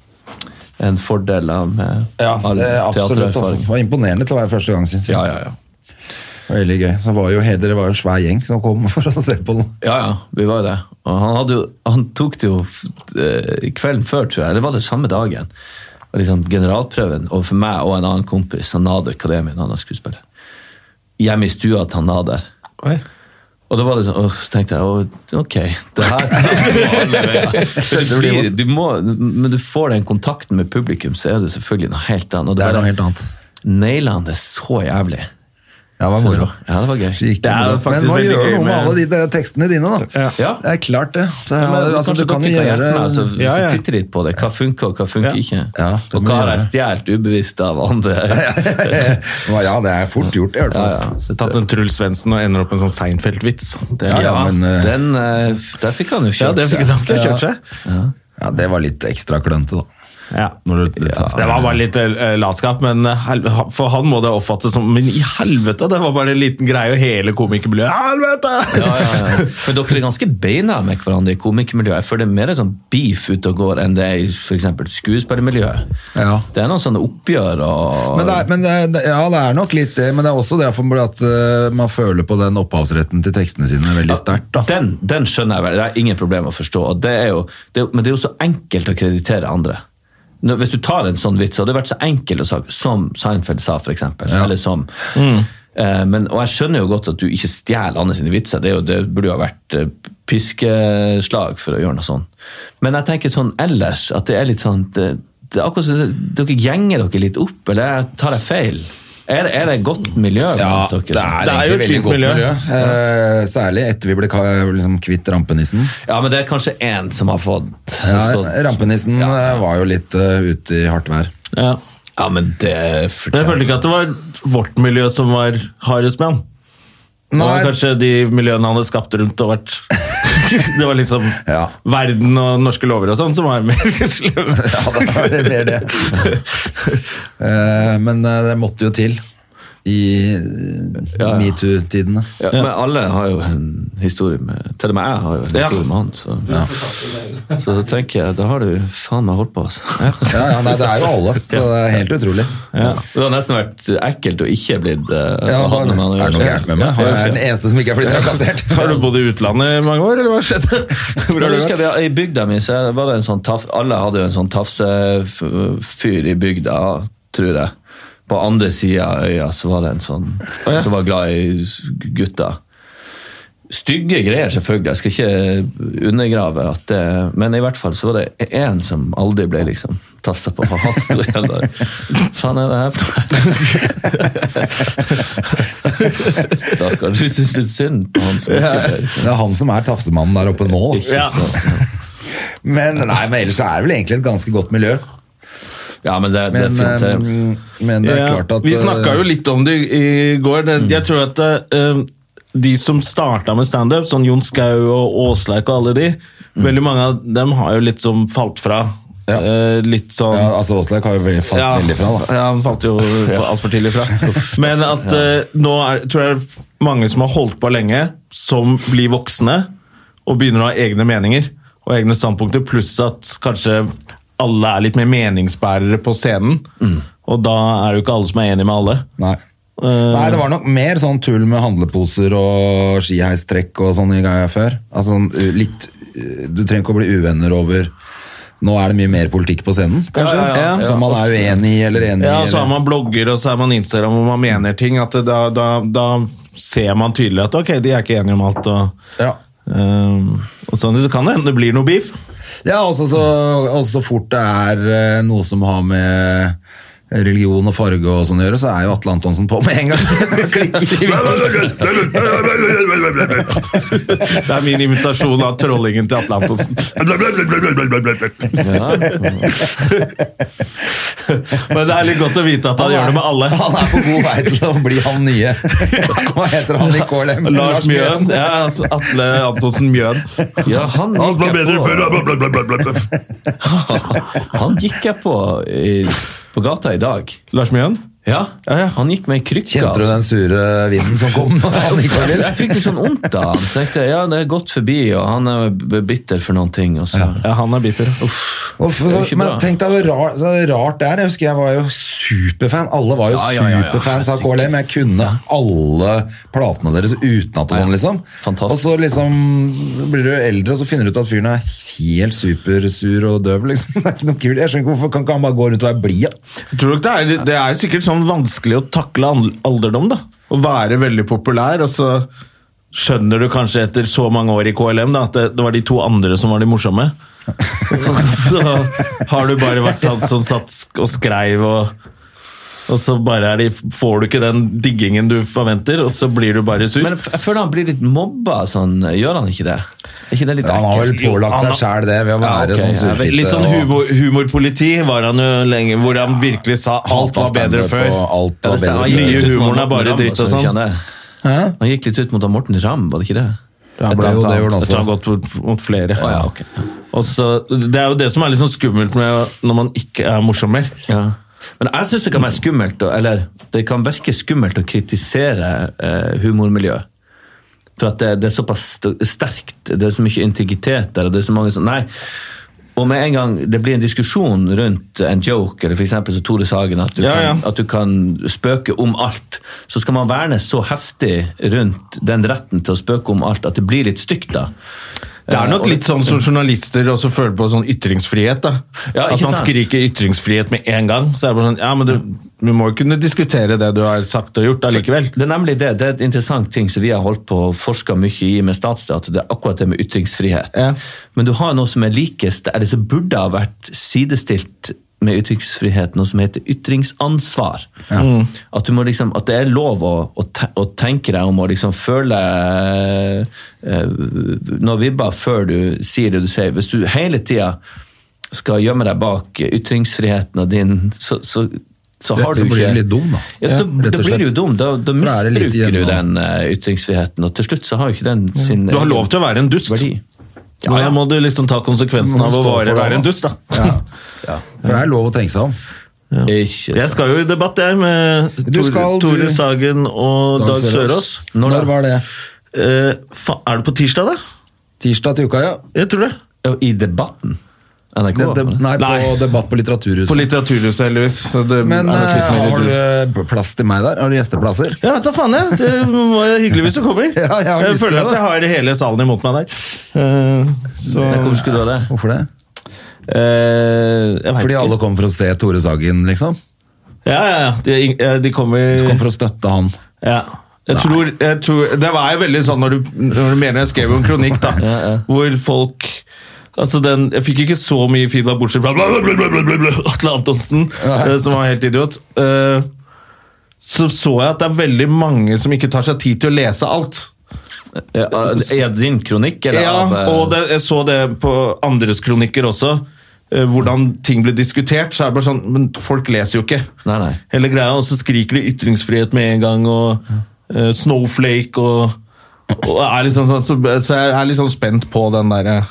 en fordel av med
Ja,
all
det er Eh, absolutt. Altså.
teatererfaring.
Det var imponerende til å være første gang, syns jeg.
Ja, ja, ja.
Veldig gøy. Så var jo, dere var jo en svær gjeng som kom for å se på noe.
Ja, ja, vi var jo det. Og han, hadde jo, han tok det jo eh, kvelden før, tror jeg. Eller var det samme dagen? Og liksom Generalprøven overfor meg og en annen kompis, han Nader Kademi, en annen skuespiller. Hjemme i stua til han Nader. Og da var det sånn, åh, så tenkte jeg åh, ok, det her det blir, du må, Men du får den kontakten med publikum, så er det selvfølgelig noe helt annet. Og
Det er
bare
noe helt annet.
Naila han det så jævlig.
Ja, det var
Så det
moro.
var- Ja, det var gøy.
Skikkelig
Det er
moro.
faktisk
Men hva
veldig
gjør
gøy
du med
med-
alle de der tekstene dine, da?
Ja.
Det er klart, det. Så,
Ja, men
altså,
kanskje
du kan jo
dere
gjøre
hjelpe meg, altså, hvis
Ja, ja.
jeg titter litt på det. Hva funker, og hva funker
Ja.
ikke?
Ja, det
og
må
hva har
jeg
jeg stjålet ubevisst av andre?
Ja, det er fort gjort, i hvert fall.
Ja, ja.
Så Tatt en Truls Svendsen og ender opp med en sånn Seinfeld-vits. Det,
Ja,
er-
Ja,
men, eh,
den, eh, f- der fikk han jo
ja,
kjørt
det fikk
seg.
han ikke kjørt seg.
Ja, det var litt ekstra klønete, da.
Ja.
Når du,
Det var bare litt eh, latskap, men eh, hel- for han må det oppfattes som Men i helvete! Det var bare en liten greie, og hele komikermiljøet Helvete!
Ja, ja, ja. For dere er ganske beina med hverandre i komikermiljøet. For det er mer en sånn beef ute og går enn det er i for eksempel skuespillermiljøet.
Ja.
Det er noen sånne oppgjør og
Men, det er, men det er, ja, det er nok litt det, men det er også derfor at eh, man føler på den opphavsretten til tekstene sine veldig sterkt. da.
den, den skjønner jeg vel, det er ingen problem å forstå. Og det er jo, det, er- men det er jo så enkelt å kreditere andre. Nå, Hvis du tar en sånn vits, og det har vært så enkelt å sagt, som Seinfeld sa, for eksempel, eller som,
Mm.
eh, men, og jeg skjønner jo godt at du ikke stjeler andre sine vitser, det, er jo, det burde jo ha vært eh, piskeslag for å gjøre noe sånt. Men jeg tenker sånn ellers, at det er litt sånn, det, det er akkurat som det- dere gjenger dere litt opp, eller tar jeg feil? Er, det- er det et godt miljø? blant dere?
Det er
egentlig
jo et
veldig
fint
godt
miljø.
Eh, særlig etter vi ble ka- liksom, kvitt rampenissen.
Ja, men det er kanskje én som har fått
Ja,
stått
rampenissen eh, var jo litt eh, ute i hardt vær.
Ja.
Ja, men det
Men jeg
fortjener
følte ikke at det var vårt miljø som var hardest med han. Det var
Nei.
kanskje de miljøene han hadde skapt rundt og vært Det var liksom
Ja.
verden og norske lover og sånn som var mer slemme.
Ja, det var det mer det. Eh, Men eh, det måtte jo til i eh,
Ja, ja.
metoo-tidene.
ja, Men alle har jo en historie med Til og med jeg har jo en
Ja.
historie med han. Så, så da tenker jeg, da har du faen meg holdt på, altså.
Ja, ja, nei, det er jo alle, så det er helt utrolig.
Det har nesten vært ekkelt å ikke blitt eh,
Ja,
hatt
da, er
med han å
det noe
gjøre.
gærent med meg? Har Jeg er den eneste som ikke er blitt trakassert.
Har du bodd i utlandet i mange år, eller hva skjedde? Hvor
Men
har du
husker
vært?
jeg, vi- I bygda mi så var det en sånn taf, Alle hadde jo en sånn tafsefyr i bygda, tror jeg. På andre sida av øya så var det en sånn som var glad i gutter. Stygge greier, selvfølgelig. Jeg skal ikke undergrave at det Men i hvert fall så var det én som aldri ble liksom tafsa på. Han sto igjen der. Faen er det her for noe? Stakkar. Du syns litt synd på han som ikke ble liksom.
Det er han som er tafsemannen der oppe nå. da.
Ja.
Men, nei, men ellers så er det vel egentlig et ganske godt miljø.
Ja, men det, det er
Men,
fint. det.
eh, men det er
Ja,
klart at
Vi snakka jo litt om det i i går. Det, Jeg tror at eh, de som starta med standup, sånn Jon Skau og Åsleik og alle de, veldig mange av dem har jo litt som falt fra.
Mm. Ja.
Eh, litt sånn
ja, Altså Åslaug har jo vel- falt veldig fra, da.
ja, han falt jo altfor tidlig fra. Men at eh, nå er, tror jeg det er mange som har holdt på lenge, som blir voksne og begynner å ha egne meninger og egne standpunkter, pluss at kanskje alle er litt mer meningsbærere på scenen.
Mm.
Og da er det jo ikke alle som er enig med alle. Eh,
Nei. Nei, det var nok mer sånn tull med handleposer og skiheistrekk og sånn i gangen før. Altså sånn uh, litt uh, Du trenger ikke å bli uvenner over Nå er det mye mer politikk på scenen, kanskje?
Ja, ja, ja.
Som man er uenig i eller enig i.
Ja, og så
eller-
har man blogger og så har man Instagram hvor man mener ting. At det- da, da, da ser man tydelig at ok, de er ikke enige om alt. Og,
Ja.
eh, og sånn, så kan det hende det blir noe beef.
Ja, også så, også så fort det er eh, noe som har med religion og farge og sånn å gjøre, så er jo Atle Antonsen på med en gang. Klikker i
Det er min invitasjon av trollingen til Atle Antonsen.
Ja.
Men det er litt godt å vite at han gjør det med alle.
Han er på god vei til å bli han nye. Hva heter han i KLM?
Lars Mjøen. Ja, Atle Antonsen Mjøen.
ja, han gikk jeg på. Han gikk jeg på i, på gata i dag.
Lars Mjøen?
Ja, han gikk med ei krykke.
Kjente du den sure vinden som kom? når han gikk over?
Jeg, jeg fikk litt sånn vondt av han. Så tenkte jeg, ja, det er gått forbi, og han er b- bitter for noen ting. Og så.
Ja, han er bitter.
Uff,
er jo
så,
ikke
men
bra.
tenk deg hvor rar, så rart det er. Jeg husker jeg var jo superfan. Alle var jo superfans av KLM. Jeg kunne alle platene deres utenat og sånn, liksom.
Fantastisk.
Og så liksom så blir du eldre, og så finner du ut at fyren er helt supersur og døv, liksom. Det er ikke noe kult. Jeg skjønner ikke hvorfor kan ikke han bare gå rundt og være blid? ja?
Tror du ikke det er, det er sikkert sånn vanskelig å takle an- alderdom, da. Å være veldig populær, og så skjønner du kanskje etter så mange år i KLM da, at det, det var de to andre som var de morsomme. Og så har du bare vært han som satt sk- og skreiv og og så bare er de, får du ikke den diggingen du forventer, og så blir du bare sur.
Men jeg f- jeg føler han blir litt mobba. Sånn. Gjør han ikke det? Er ikke det litt
Han har vel
ekkelt?
pålagt seg sjæl det ved å være
ok,
sånn
ja,
surfitte.
Litt sånn humor, humorpoliti var han jo lenge, hvor han virkelig sa
og
alt var bedre
standup
før.
og Alt
Ja,
var
det
bedre
stemmer. Han
Nye
gikk litt ut mot
humoren er
Morten
bare
Ramm,
dritt
altså,
og
ikke
sånn.
han det? Han gikk litt ut mot han Morten Ramm, var det ikke det?
Ja,
Det er jo- det gjorde han
Jeg tror han har gått mot, mot flere.
Å, ja, ok.
Og så- det er jo det som er litt sånn skummelt med når man ikke er morsom mer.
Ja. Men jeg syns det kan være skummelt, å- eller det kan virke skummelt å kritisere eh, humormiljøet. For at det, det er såpass st- sterkt, det er så mye integritet der, og det er så mange som Nei. Og med en gang det blir en diskusjon rundt en joke, eller f.eks. som Tore Sagen, at du,
Ja, ja.
Kan, at du kan spøke om alt, så skal man verne så heftig rundt den retten til å spøke om alt at det blir litt stygt, da.
Det er
Eh,
nok
og-
litt sånn som journalister også føler på sånn ytringsfrihet. da.
Ja,
At
ikke
man
sant?
skriker ytringsfrihet med en gang. Så er det bare sånn, ja, men du, Vi må jo kunne diskutere det du har sagt og gjort allikevel.
Det er nemlig det. Det er et interessant ting som vi har holdt på og forska mye i med statsstat. Det er akkurat det med ytringsfrihet.
Ja.
Men du har noe som er likest, eller som burde ha vært sidestilt med ytringsfrihet, noe som heter ytringsansvar.
Mm.
At, du må liksom, at det er lov å, å, te, å tenke deg om og liksom føle eh, noen vibber før du sier det du sier. Hvis du hele tida skal gjemme deg bak ytringsfriheten og din, så, så, så
Det-
har
så
du ikke
blir du litt dum, da.
Ja, da,
Ja, rett og
da blir
slett.
du jo dum. Da, da
Da er det litt
misbruker du
igjen,
den eh, ytringsfriheten, og til slutt så har jo ikke den sin eh,
Du har lov til å være en dust.
verdi.
Ja, ja. Da må du liksom ta konsekvensen
Må
av å
stå for
være,
det,
være en
da.
dust. da.
Ja. For det er lov å tenke seg om.
Ikke
Jeg
sant.
skal jo i debatt, jeg, med
Du
Tore,
skal, du-
Tore Sagen og Dag, Sørås.
Når da?
Når var det?
Eh, fa er det på tirsdag, da?
Tirsdag til uka, ja.
Jeg tror det.
I debatten? NRK?
Det, det, nei, på
Nei.
debatt på Litteraturhuset.
På Litteraturhuset, heldigvis. Så det
Men
er nok litt
eh,
mer
har
litt-
du eh, plass til meg der? Har du gjesteplasser?
Ja, vet da faen jeg. Det var hyggelig hvis du kommer.
Ja, jeg har lyst til
føler at
det.
jeg har hele salen imot meg der. Eh, så
Nei, Hvorfor skulle du ha det?
Hvorfor det?
Eh, Jeg vet
Fordi
ikke.
alle kommer for å se Tore Sagen, liksom?
Ja, ja, ja. De, eh, de kommer
Kommer for å støtte han.
ja. Jeg tror, jeg tror, det var jo veldig sånn når du, når du mener jeg skrev jo en kronikk, da, hvor folk Altså den, Jeg fikk ikke så mye feedback, bortsett fra bla, bla, bla, bla, bla, bla, bla, Atle Antonsen, eh, som var helt idiot. Eh, så så jeg at det er veldig mange som ikke tar seg tid til å lese alt.
Ja, Er det din kronikk, eller?
Ja,
av, eh,
og det, jeg så det på andres kronikker også. eh, Hvordan ting ble diskutert. Så er det bare sånn, Men folk leser jo ikke.
Nei, nei.
Hele greia, Og så skriker de ytringsfrihet med en gang, og eh, Snowflake og, og er liksom sånn, så, så jeg er litt sånn spent på den eh. derre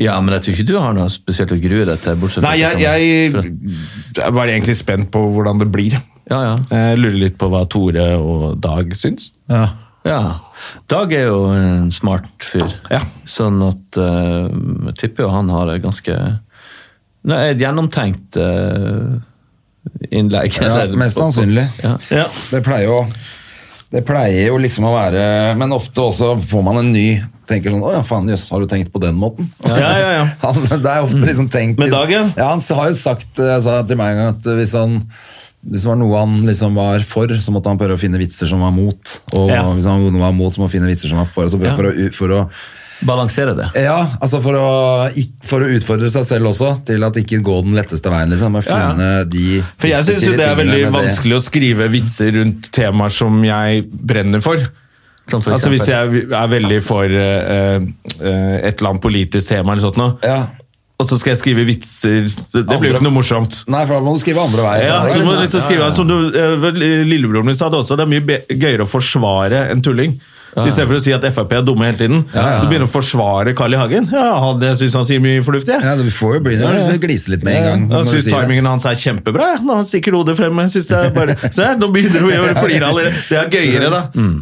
Ja, men jeg tror ikke du har noe spesielt å grue deg til, bortsett
Nei, jeg, jeg,
fra-
er bare egentlig spent på hvordan det blir.
Ja, ja.
Jeg lurer litt på hva Tore og Dag syns.
Ja.
Ja. Dag er jo en smart fyr.
Ja.
Sånn at eh, jeg tipper jo han har et ganske Nei, et gjennomtenkt eh, innlegg.
Ja,
eller-
mest sannsynlig.
Ja.
Ja.
Det pleier jo det pleier jo liksom å være Men ofte også får man en ny Tenker sånn, åja faen jøss, har du tenkt på den måten?
Ja, ja, ja.
Han, det er ofte liksom tenkt
Med Dag, ja.
ja, han har jo sagt eh, sa til meg en gang at hvis han hvis det var noe han liksom var for, så måtte han prøve å finne vitser som var mot. Og
Ja.
hvis han var noe han var mot, så må han finne vitser som var for. Altså for,
Ja.
for, å, for å
Balansere det.
ja, altså for å, ikk- for å utfordre seg selv også, til at ikke gå den letteste veien, liksom. Å
Ja, ja.
finne de
For jeg syns jo det
tingene
er veldig
med det.
vanskelig å skrive vitser rundt temaer som jeg brenner for.
Sånn for
Altså
eksempel.
Hvis jeg er veldig for eh, eh, et eller annet politisk tema, eller sånt nå,
Ja.
og så skal jeg skrive vitser Det det blir jo
Andre-
ikke noe morsomt.
Nei, for da må du skrive andre veien.
Ja,
Det er
så må du
sant.
liksom skrive Som du, eh, lillebroren min sa det også, det er mye be gøyere å forsvare en tulling. I stedet for å si at Frp er dumme hele tiden. Du begynner å forsvare Carl I. Hagen. Ja, han, jeg syns han sier mye fornuftig. jeg.
Ja, du får jo begynne å liksom glise litt med en gang. når
Jeg
du
syns
sier det.
timingen hans er kjempebra. jeg. Når han stikker hodet frem. Jeg synes det er bare, se, nå begynner vi å flire allerede. Det er gøyere, da.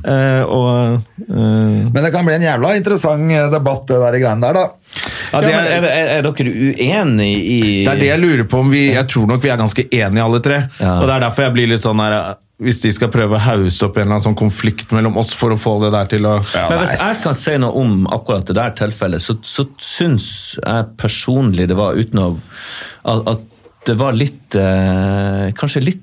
Eh, og, eh,
Men det kan bli en jævla interessant eh, debatt, det der greiene der, da.
ja,
Ja,
det
men
er,
er, er, er dere uenige i
det er det jeg lurer på om vi Jeg tror nok vi er ganske enige, alle tre.
Ja.
Og det er derfor jeg blir litt sånn her eh, Hvis de skal prøve å hause opp en eller annen sånn konflikt mellom oss for å få det der til å
Men hvis jeg kan si noe om akkurat det der tilfellet, så, så syns jeg personlig det var uten å At, at det var litt eh, Kanskje litt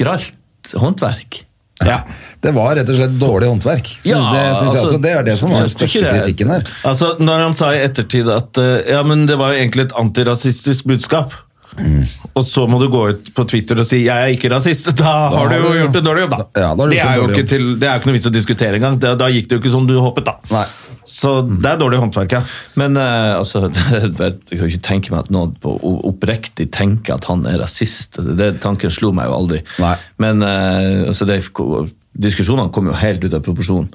skralt håndverk.
ja.
Det var rett og slett dårlig håndverk. Så
Ja,
det synes jeg
altså,
også, det er det som var den
jeg tror ikke
største
det-
kritikken her.
Altså, Når han sa i ettertid at eh, ja, men det var jo egentlig et antirasistisk budskap
Mm.
Og så må du gå ut på Twitter og si 'jeg er ikke rasist'. Da, har du jo gjort en dårlig jobb, da.
Ja, da har du
det,
gjort en
er jo
dårlig
ikke
jobb.
til, det er jo ikke noe vits å diskutere engang. Da, da gikk det jo ikke som du håpet, da.
Nei.
Så det er dårlig håndverk, ja.
Men eh, altså, jeg kan jo ikke tenke meg at noen på o- oppriktig tenker at han er rasist. Altså, Det tanken slo meg jo aldri.
Nei.
Men eh, altså, det, diskusjonene kom jo helt ut av proporsjon.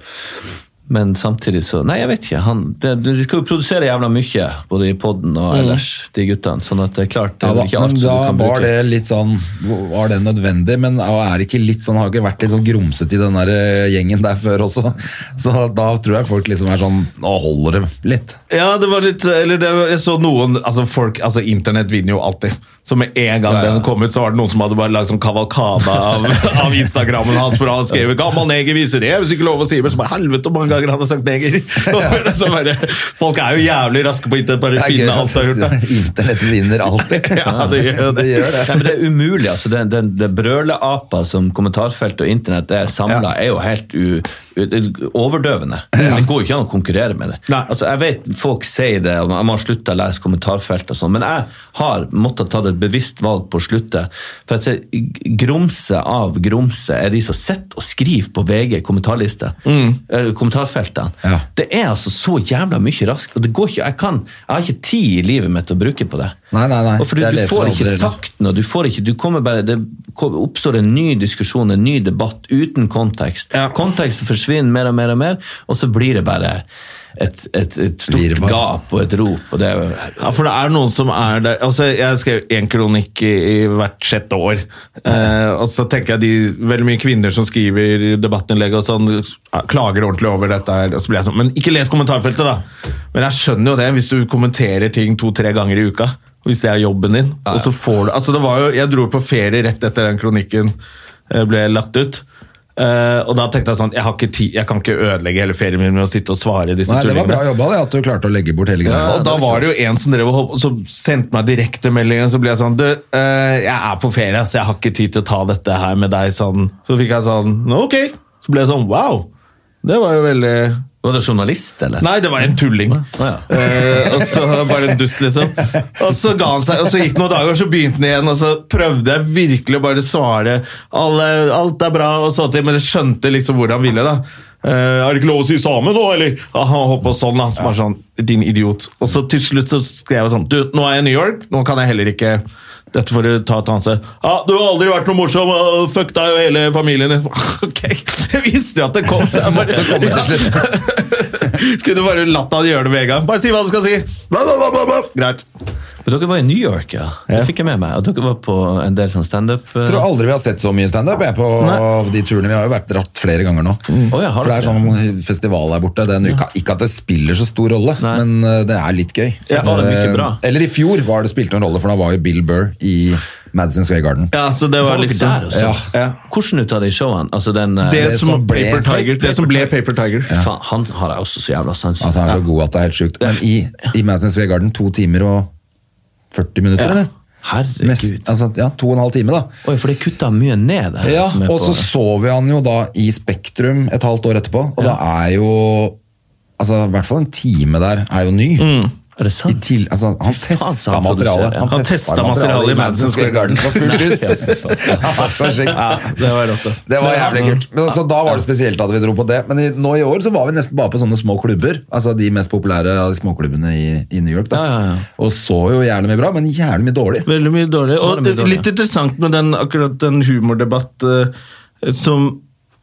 Men samtidig så Nei, jeg vet ikke. Han, det, de skal jo produsere jævla mye, både i poden og ellers, de guttene. Sånn at det er klart, det
Mm. Ja, da,
er vel ikke
men
alt som
da
du kan
var
bruke.
det litt sånn Var det nødvendig? Men er det ikke litt sånn, har det ikke vært litt sånn grumsete i den der eh, gjengen der før også? Så da tror jeg folk liksom er sånn Nå holder det litt.
Ja, det var litt Eller det, var- jeg så noen Altså, folk Altså, internett vinner jo alltid. Så med en gang
Ja, ja.
den kom ut, så var det noen som hadde bare lagd sånn kavalkade av, av Instagrammen hans, for han skrev 'Gammal neger viser det', hvis ikke lov å si men så bare helvete hvor mange ganger han har sagt neger! Og så bare, folk er jo jævlig raske på internett, bare
Det er gøy,
finne alt de har gjort. da.
Internett vinner alltid.
Ja, det gjør det.
gjør det.
Nei, men det er umulig. altså. Det, det, det brøleapa som kommentarfelt og internett er samla, er jo helt u, u, overdøvende. Det går jo ikke an å konkurrere med det.
Nei.
Altså, Jeg vet folk sier det, og man har slutta å lese kommentarfelt og sånn, men jeg har måttet ta et bevisst valg på å slutte. For jeg ser grumse av grumse er de som sitter og skriver på VG kommentarliste, eller kommentarfeltene.
Mm. Ja.
Det er altså så jævla mye raskt, og det går ikke, jeg, kan, jeg har ikke tid i livet mitt til å bruke på det.
Nei, nei, nei.
Og fordi
Jeg
du
leser
får
aldri
ikke
det.
sagt noe. Du får ikke, du kommer bare, det kom- oppstår en ny diskusjon, en ny debatt, uten kontekst.
Ja.
Konteksten forsvinner mer og mer og mer, og så blir det bare et, et, et stort
Virvar.
gap og et rop. Og det er jo
Ja, for det er noen som er der Altså, jeg skrev én kronikk i, i hvert sjette år. Eh, og så tenker jeg de veldig mye kvinner som skriver i debattinnlegg og sånn, ja, klager ordentlig over dette her. Og så blir jeg sånn Men ikke les kommentarfeltet, da! Men jeg skjønner jo det, hvis du kommenterer ting to-tre ganger i uka. Hvis det er jobben din. Og så får du Altså, det var jo Jeg dro på ferie rett etter den kronikken eh, ble lagt ut. Eh, og da tenkte jeg sånn Jeg har ikke tid, jeg kan ikke ødelegge hele ferien min med å sitte og svare disse
Nei, det var
tullingene.
bra jobba det, at du klarte å legge bort hele greia.
Og da var det jo en som, drev, og hopp- som sendte meg direktemeldingen, så ble jeg sånn Du, eh, jeg er på ferie, så jeg har ikke tid til å ta dette her med deg sånn. Så fikk jeg sånn Ok, Så ble jeg sånn wow! Det var jo veldig
Var det journalist, eller?
Nei, det var en tulling.
Å, ja.
Eh, og så Bare en dust, liksom. Og så ga han seg, og så gikk det noen dager, og så begynte han igjen. Og så prøvde jeg virkelig å bare svare alle, alt er bra, og så til, men jeg skjønte liksom hvor han ville. da. Eh, er det ikke lov å si same nå, eller? Ah, han hoppa sånn, da. Så bare sånn, din idiot. Og så til slutt så skrev jeg sånn Du, nå er jeg i New York, nå kan jeg heller ikke dette får du ta et annet sted. Ja, du har aldri vært noe morsom. og Fuck deg og hele familien din. Ok, Jeg visste jo at det kom. Så jeg måtte komme til slutt. Skulle bare latt han gjøre det med en gang. Bare si hva du skal si! Bla, bla, bla, bla, bla. Greit.
For dere var i New York, ja. Det
Ja.
fikk jeg med meg. Og dere var på en del sånn standup. eh,
Jeg tror aldri vi har sett så mye standup jeg, på de turene. Vi har jo vært dratt flere ganger nå.
Mm. Å, ja, har
For det er
dere?
sånn festival der borte. Det er en uke. Ikke at det spiller så stor rolle,
Nei.
men eh, det er litt gøy.
Ja, og
det er mye bra.
Eh, Eller i fjor var det spilte en rolle, for da var jo Bill Burr i Madison Square Garden.
Ja, så det var
Var dere
liksom
der også?
Ja. Ja.
Hvordan ut av de showene? Altså den eh,
Det,
Det
som
som ble-
Paper Tiger. Det som ble Paper Tiger.
Faen, han har jeg også så jævla sans
Altså, han er så god at det er helt sjukt. Men i, i Madison Square Garden to timer og 40 minutter. eller?
Herregud.
Nest, altså, ja, to og en halv time, da.
Oi, for det kutta mye ned. det her
Ja,
som er
og
på-
så så vi han jo da i Spektrum et halvt år etterpå, og da er jo Altså, i hvert fall en time der er jo ny.
Er det
I
sant?
til, altså, han
sa
testa
han
materialet.
produserer, ja.
Han testa materialet i Madison Square Garden.
på fullt hus. Ja, så sjukt.
Det var rått, ass.
Det var jævlig kult. Men altså, da var det spesielt at vi dro på det. Men i, nå i år så var vi nesten bare på sånne små klubber. Altså de mest populære av de småklubbene i, i New York. da.
Ja, ja, ja.
Og så jo jævlig mye bra, men jævlig mye dårlig.
Veldig mye dårlig. Og
Veldig mye dårlig.
litt interessant med den, akkurat den humordebatt eh, som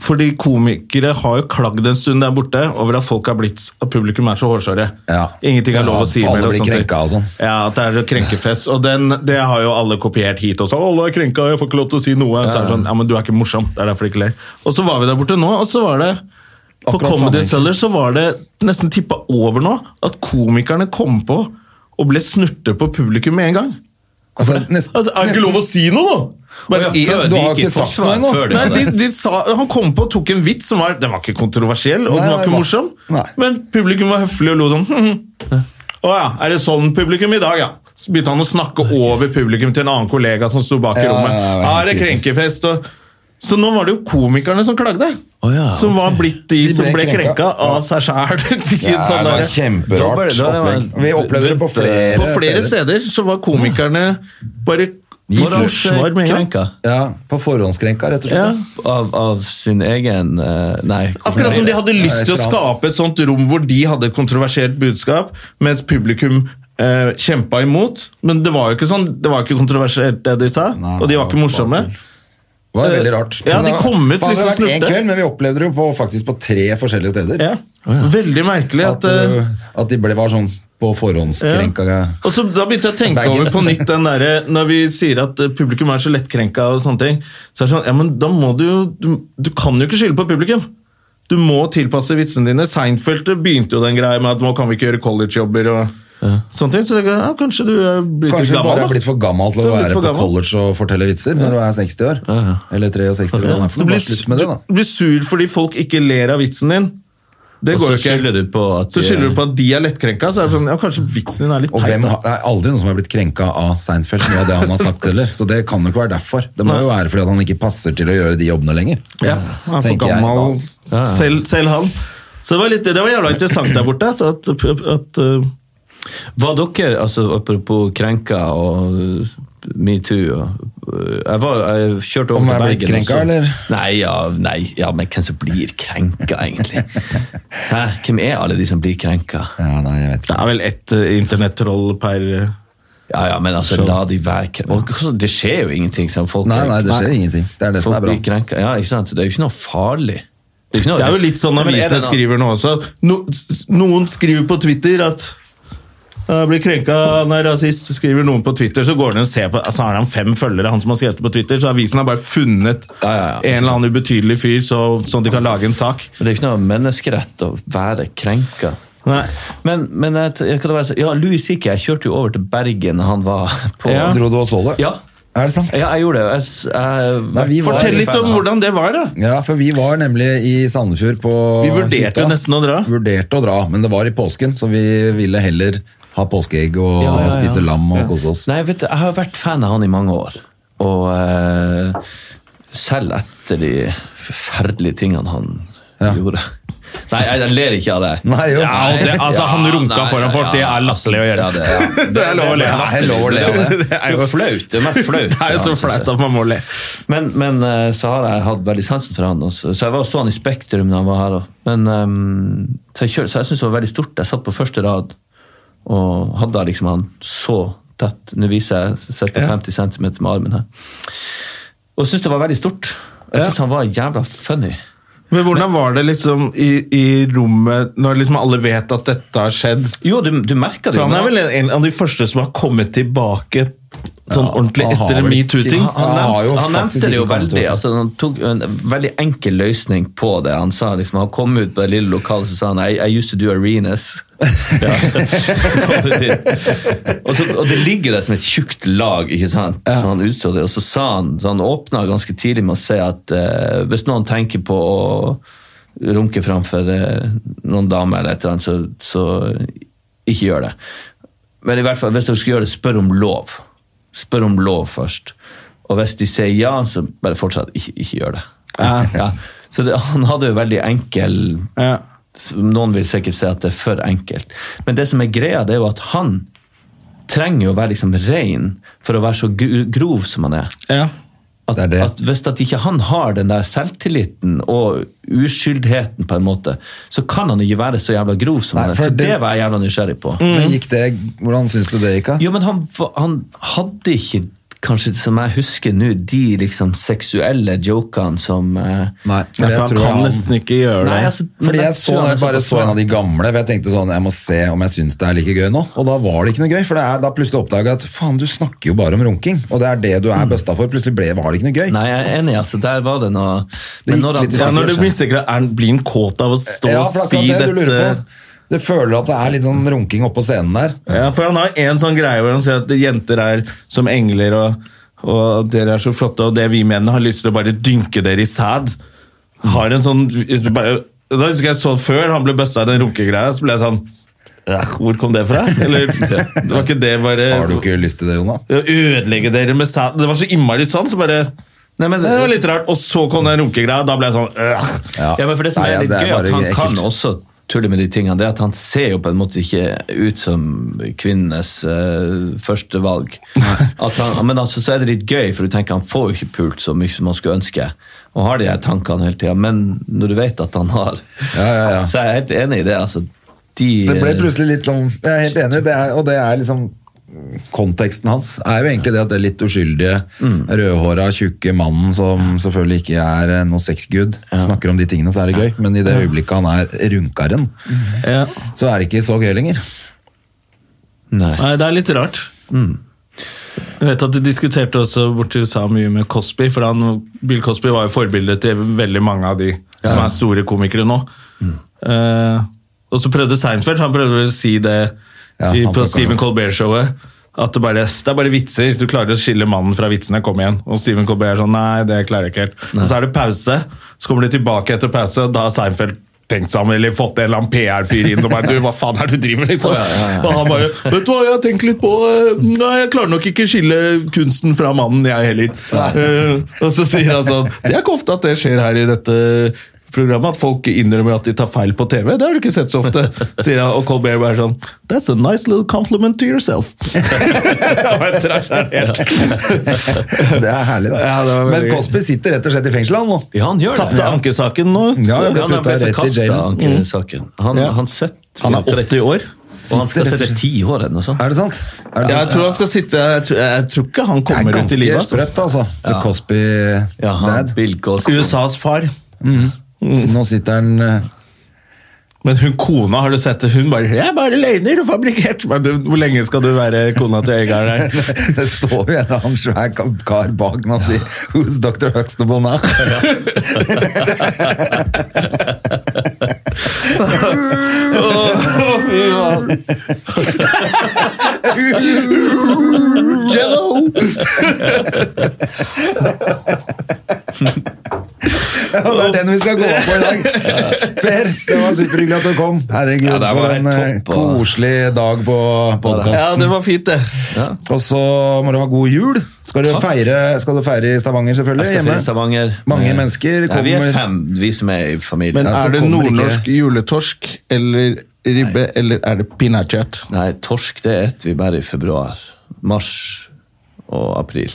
Fordi komikere har jo klagd en stund der borte over at folk har blitt at publikum er så hårsåre.
Ja.
Ingenting
Ja,
er lov å si
alle
mer. og
blir
sånne ting.
krenka og sånn.
Ja, at det er så krenkefest. Og den, det har jo alle kopiert hit også. Alle er krenka, jeg får ikke lov til å si noe. Så er det sånn, ja, men du er ikke morsom. Det er derfor du ikke ler. Og så var vi der borte nå, og så var det på
Akkurat samme,
Comedy
egentlig.
Cellar så var det nesten tippa over nå at komikerne kom på og ble snurte på publikum med en gang.
Altså, nesten,
Altså, er det ikke lov å si noe, da?
Å,
Men
ja, før
en-
du
de
har
gikk i
ikke sagt
forsvar,
noe ennå.
før de
Nei,
hadde-
de, de sa, han kom på og tok en vits som var Den var ikke kontroversiell, og
Nei,
den var
nei,
ikke
nei.
morsom.
Nei.
Men publikum var høflig og lo sånn. «Hm, hm». Å ja, er det sånn publikum i dag, ja? Så begynte han å snakke over publikum til en annen kollega som sto bak i
Ja,
rommet.
ja, ja,
Ja, er det
krise.
krenkefest? Og... Så nå var det jo komikerne som klagde.
Å ja,
som var blitt de,
De
som
ble
ble
krenka.
krenka av seg sånn sjæl.
Ja, det var kjemperart
Da var det- da var det-
opplegg. Vi opplevde det på flere,
På flere steder så var komikerne bare
Gi
Var det
forsvar
med en gang?
Krenka
Ja, på forhåndskrenka, rett og slett.
Ja.
av, av sin egen eh, Nei. hvorfor
Akkurat som de hadde lyst til å
et eller annet.
skape et sånt rom hvor de hadde et kontroversielt budskap, mens publikum eh, kjempa imot. Men det var jo ikke sånn, det var jo ikke kontroversielt, det de sa,
Nei,
og de var
nei,
ikke morsomme.
Det var
Eh,
veldig rart.
ja,
Men
de
det var-
kom ut
faen,
liksom
Det hadde vært
snurte.
én kveld, men vi opplevde det jo på, faktisk på tre forskjellige steder.
Ja. Veldig merkelig
At,
at, eh,
uh, at de ble, var sånn på forhåndskrenka.
Og så Da begynte jeg å tenke
Bagen.
over på nytt den derre Når vi sier at eh, publikum er så lettkrenka og sånne ting, så er det sånn Ja, men da må du jo Du, du kan jo ikke skylde på publikum. Du må tilpasse vitsene dine. Seinfeld begynte jo den greia med at nå kan vi ikke gjøre collegejobber og sånne ting. Så jeg, ja, kanskje du er blitt
Kanskje du
litt
bare
gammel,
er blitt
da.
for gammel til
Du
å
er blitt
være
for
på
gammel.
college og fortelle vitser når du er 60 år.
ja.
Eller 63 år.
Ja.
Ja.
Du,
Bare
blir,
slutt med det, da.
du blir sur fordi folk ikke ler av vitsen din. Det
Og
går
så
jo ikke.
skylder du på at
så
de-
skylder du på at de er lettkrenka. Så er det sånn, ja, kanskje vitsen din er litt
Og
teit.
hvem,
da.
har- det er aldri noen som har blitt krenka av Seinfeld. Mye av det han har sagt heller Så det kan jo ikke være derfor. Det må jo være fordi at han ikke passer til å gjøre de jobbene lenger.
Ja, han er for
Tenker jeg,
gammel.
Ja, ja.
Selv, selv han. Så det var, litt, det var jævla interessant der borte. Så at, at, uh,
Var dere, altså apropos krenka og uh, metoo og, uh, jeg, var, jeg kjørte
Om
over
jeg er
til Bergen.
blitt krenka,
også.
eller?
Nei, ja, nei, ja, men hvem som blir krenka, egentlig? Hæ? Hvem er alle de som blir krenka?
Ja, nei, jeg vet
det
ikke.
er vel ett uh, internettroll per uh,
Ja, ja, men altså, la de være krenka. Det skjer jo ingenting. sant? folk,
Nei, nei, det skjer ingenting. Det er det som
folk
er bra.
blir krenka. Ja, ikke sant? Det er jo ikke noe farlig. Det er, ikke noe-
Det er jo litt sånn
Nei, men er
avisene
det-
skriver nå også. No, s- noen skriver på Twitter at jeg blir krenka, han er rasist. Skriver noen på Twitter, så går den og ser på Så har han fem følgere, han som har skrevet det på Twitter. Så avisen har bare funnet
Ja, ja, ja.
en eller annen ubetydelig fyr, så, sånn de kan lage en sak.
Men det er jo ikke noe menneskerett å være krenka.
Nei.
Men, men jeg, jeg, kan være, så- ja, Louis C.K. Jeg kjørte jo over til Bergen da han var på
Ja.
Dro du og så det?
Ja.
Er det sant?
Ja, jeg gjorde det. Jeg, s- jeg,
Nei, vi var-
Fortell litt om hvordan det var, da.
Ja, for vi var nemlig i Sandefjord på
Vi vurderte
hytta.
jo nesten å dra.
Vurderte å dra, men det var i påsken, så vi ville heller ha påskeegg og
Ja, ja, ja.
spise lam og kose oss.
Nei, vet du, jeg har vært fan av han i mange år. Og eh, selv etter de forferdelige tingene han gjorde. Nei, jeg, jeg ler ikke av det.
Nei, jo.
Ja, og det, altså, han
Ja,
runka
nei,
foran folk, det er latterlig å gjøre.
Ja, det, ja.
Det er lov å le av.
Det er lov å le av det.
Det er jo
jo flaut. Det er mest flaut.
Det er jo så flaut at man må le.
Men, men eh, så har jeg hatt veldig sansen for han. Også. Så jeg var og så han i Spektrum da han var her. også. Men, ehm, så jeg, kjør- så jeg syntes det var veldig stort. Jeg satt på første rad og hadde liksom han så tett. Nå viser jeg jeg sitter på 50 cm med armen her. Og syntes det var veldig stort. Jeg syntes han var jævla funny.
Men hvordan var det liksom i, i rommet, når liksom alle vet at dette har skjedd?
Jo, du, du merker det.
For
jo.
han er vel en av de første som har kommet tilbake sånn ordentlig
han har
etter
vel
metoo-ting.
ikke- Han
Han,
har jo
nevnte, han
faktisk
nevnte det jo
ikke kommet
veldig.
over.
Altså, han tok en veldig enkel løsning på det. Han sa liksom, han kom ut på det lille lokalet så sa han, I, I used to do arenas. Ja. så kom det til. Og, så, og det ligger der som et tjukt lag, ikke sant? Så han utså det, og så sa han, så han åpna ganske tidlig med å si at eh, hvis noen tenker på å runke framfor eh, noen dame eller et eller annet, så, så ikke gjør det. Men i hvert fall, hvis dere skal gjøre det, spør om lov. Spør om lov først. Og hvis de sier ja, så bare fortsatt ikke, ikke gjør det. Ja. Så det, han hadde jo veldig enkel
Ja.
s- Noen vil sikkert si at det er for enkelt. Men det som er greia, det er jo at han trenger jo å være liksom rein for å være så gro- grov som han er.
Ja.
At,
Det er det.
at Hvis at ikke han har den der selvtilliten og uskyldheten, på en måte, så kan han ikke være så jævla grov som
Nei,
han er.
for
For det,
det- Mm.
var jeg jævla nysgjerrig på.
Men gikk det, hvordan syns du det gikk, da?
Jo, men han, var- han hadde ikke, kanskje som jeg husker nå, de liksom seksuelle jokene som eh,
Nei, for
for
jeg
han
tror
kan
han-
nesten ikke gjøre det.
Nei, altså, men
Fordi jeg så,
tror han
når
er
jeg bare
såpass
så en av
smart.
de gamle, for jeg tenkte sånn, jeg må se om jeg syns det er like gøy nå. Og da var det ikke noe gøy, for det er, da plutselig oppdaga jeg at faen, du snakker jo bare om runking. Og det er det du er bøsta for. Plutselig ble, var det ikke noe gøy.
Nei, jeg er enig, altså. Der var det noe
Det
Men
gikk
når han,
litt i
Ja, når
det
du mistenker det, er, blir han kåt av å stå
Ja,
og
for
si
det er akkurat det du
dette?
lurer på. Du føler at det er litt sånn runking oppå scenen der.
Ja, for han har en sånn greie hvor han sier at jenter er som engler, og, og dere er så flotte, og det vi menn har lyst til å bare dynke dere i sæd. Har en sånn bare, Da husker jeg så før han ble busta i den runkegreia, så ble jeg sånn «Eh, Hvor kom det fra? Eller det var ikke det bare
Har du ikke lyst til det, Jonah?
å ødelegge dere med sæd Det var så innmari sant, så bare
Nei, men,
Det var litt rart. Og så kom den runkegreia, og da ble jeg sånn «Eh».
ja. men for Det som
Nei, ja,
er litt
det
gøy, at
bare
han
ekkelt.
kan også tulle med de tingene, det er at han ser jo på en måte ikke ut som kvinnenes eh, første valg. At han, men altså, så er det litt gøy, for du tenker han får jo ikke pult så mye som han skulle ønske. Og har de her tankene hele tida, men når du vet at han har
Ja, ja, ja.
Så er jeg helt enig i det. altså. De,
Det ble plutselig litt sånn Jeg er helt enig, det er, og det er liksom Konteksten hans er jo egentlig det at det litt uskyldige,
Mm.
rødhåra, tjukke mannen som selvfølgelig ikke er eh, noe sexgud, snakker om de tingene, så er det gøy. Men i det øyeblikket han er runkeren,
Ja.
så er det ikke så gøy lenger.
eh, Nei.
Nei, det er litt rart.
Mm.
Jeg vet at De diskuterte også borti USA mye med Cosby, for han, Bill Cosby var jo forbildet til veldig mange av de som er store komikere nå.
Mm.
Eh, og så prøvde Seinfeld han prøvde vel å si det
Ja,
i,
han
på
snakket
Stephen
om-
Colbert-showet. At det, bare, det er bare vitser. Du klarer å skille mannen fra vitsene. Kom igjen. Og Stephen Colbert er sånn Nei, det klarer jeg ikke helt. Og så er det pause, så kommer de tilbake etter pause, og da har Seinfeld tenkt seg om, eller fått en eller annen PR-fyr inn og bare Du, hva faen er det du driver med? Liksom.
Å, ja, ja, ja.
Og han bare Vet du hva, jeg har tenkt litt på eh, Nei, jeg klarer nok ikke skille kunsten fra mannen, jeg heller. Eh, og så sier han sånn Det er ikke ofte at det skjer her i dette programmet, at folk innrømmer at de tar feil på TV. Det har du ikke sett så ofte, sier han. Og Colbert bare sånn That's a nice little compliment to yourself. Han bare trasher helt.
Det er herlig, da.
Ja, det var veldig
Men
gøy.
Cosby sitter rett og slett i fengsel, han nå.
Ja, han gjør det.
Tapte ankesaken nå.
Ja,
så-
jeg ble
han
putta
ble
rett i
forkasta
jailen.
ankesaken. Han,
Ja.
han, sitter-
Han er 80 år.
Og han skal
Sitter rett og
sitte ti år eller noe sånt.
Er det sant? Er det
Jeg
sant?
tror han skal sitte Jeg tror, jeg tror ikke han
Det er
kommer ut i livet.
ganske
altså.
sprøtt, altså. The Cosby
Ja, han,
dad.
Bill Cosby.
USAs far.
Så Nå sitter han eh,
Men hun kona, har du sett det? Hun bare 'Jeg er bare løgner og fabrikkert'. Men du, hvor lenge skal du være kona til Øygarden her?
Det står jo en eller annen svær kar bak når han sier 'Who's Dr. Huxtable now?'
Jello!
Ja, det er den vi skal gå på i dag. Per, det var superhyggelig at du kom. Herregud,
Ja, det var
for
helt
en eh,
topp, og-
koselig dag på
Ja,
podkasten.
det var fint, det.
Og så må du ha god jul. Skal du, feire, skal du feire i Stavanger, selvfølgelig?
Jeg skal
hjemme?
til Stavanger.
Mange
Eh,
mennesker
Nei, vi
kommer-
er fem, vi som er i familien.
Men
Ja, så
er det
kommer ikke-
nordnorsk juletorsk eller ribbe, eller er det pinnekjøtt?
Nei, torsk det spiser vi bare i februar. Mars og april.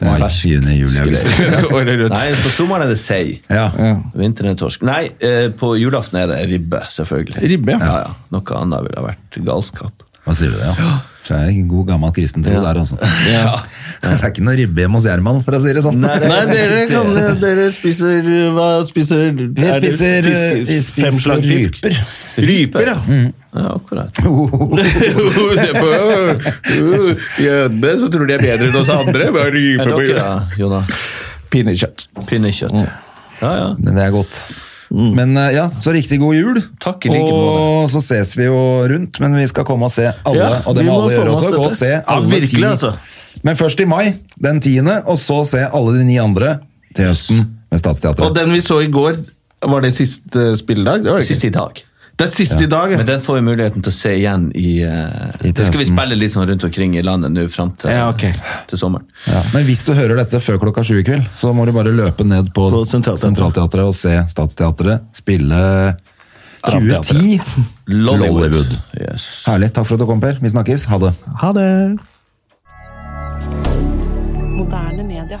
Mai,
Fersk
juni, juli,
greier.
august.
Året rundt.
Nei, på sommeren er det sei.
Ja.
Vinteren er torsk. Nei, eh, på julaften er det ribbe, selvfølgelig.
Ribbe, ja.
ja. ja. Noe annet ville ha vært galskap.
Hva sier du det, ja? Så er det en god gammel kristen tro der, altså. Det er ikke noe ribbe hjemme hos Gjerman, for å si det sånn.
Nei, dere, kan, dere spiser Hva spiser
Vi
er det
spiser,
fisk-
vi spiser
fem slag fisk?
ryper.
Ryper, ja.
Ja, akkurat.
Se på øh, øh, jødene, så tror de er bedre enn oss andre. Bare
Er
ryper på
dere da,
jorda.
Jonna?
Pinnekjøtt.
Pinnekjøtt. Ja, ja.
Men Det er godt. Men eh, ja, så riktig god jul.
Takk, i like måte.
Og så ses vi jo rundt, men vi skal komme og se alle.
Ja,
og det
vi
må
må
alle
få med
gjøre
oss
også. Gå
dette.
og se
Ja,
alle
virkelig,
ti.
altså.
Men først i mai, den tiende, og så se alle de ni andre til høsten med
Og
Statsteatret.
den vi så i går, var det siste spilledag? Det, var det ikke.
Sist i dag.
det er siste i dag, ja.
Men den får vi muligheten til å se igjen i eh,
I
Det skal vi
tjenesten.
spille litt sånn rundt omkring i landet nå fram til,
Ja, ok.
til sommeren.
Ja. Men hvis du hører dette før klokka sju i kveld, så må du bare løpe ned på,
På Centralteatret.
Centralteatret og se Statsteatret spille 2010 Lollywood.
Yes.
Herlig. Takk for at du kom, Per. Vi snakkes. Ha det.
Ha det.
Moderne media.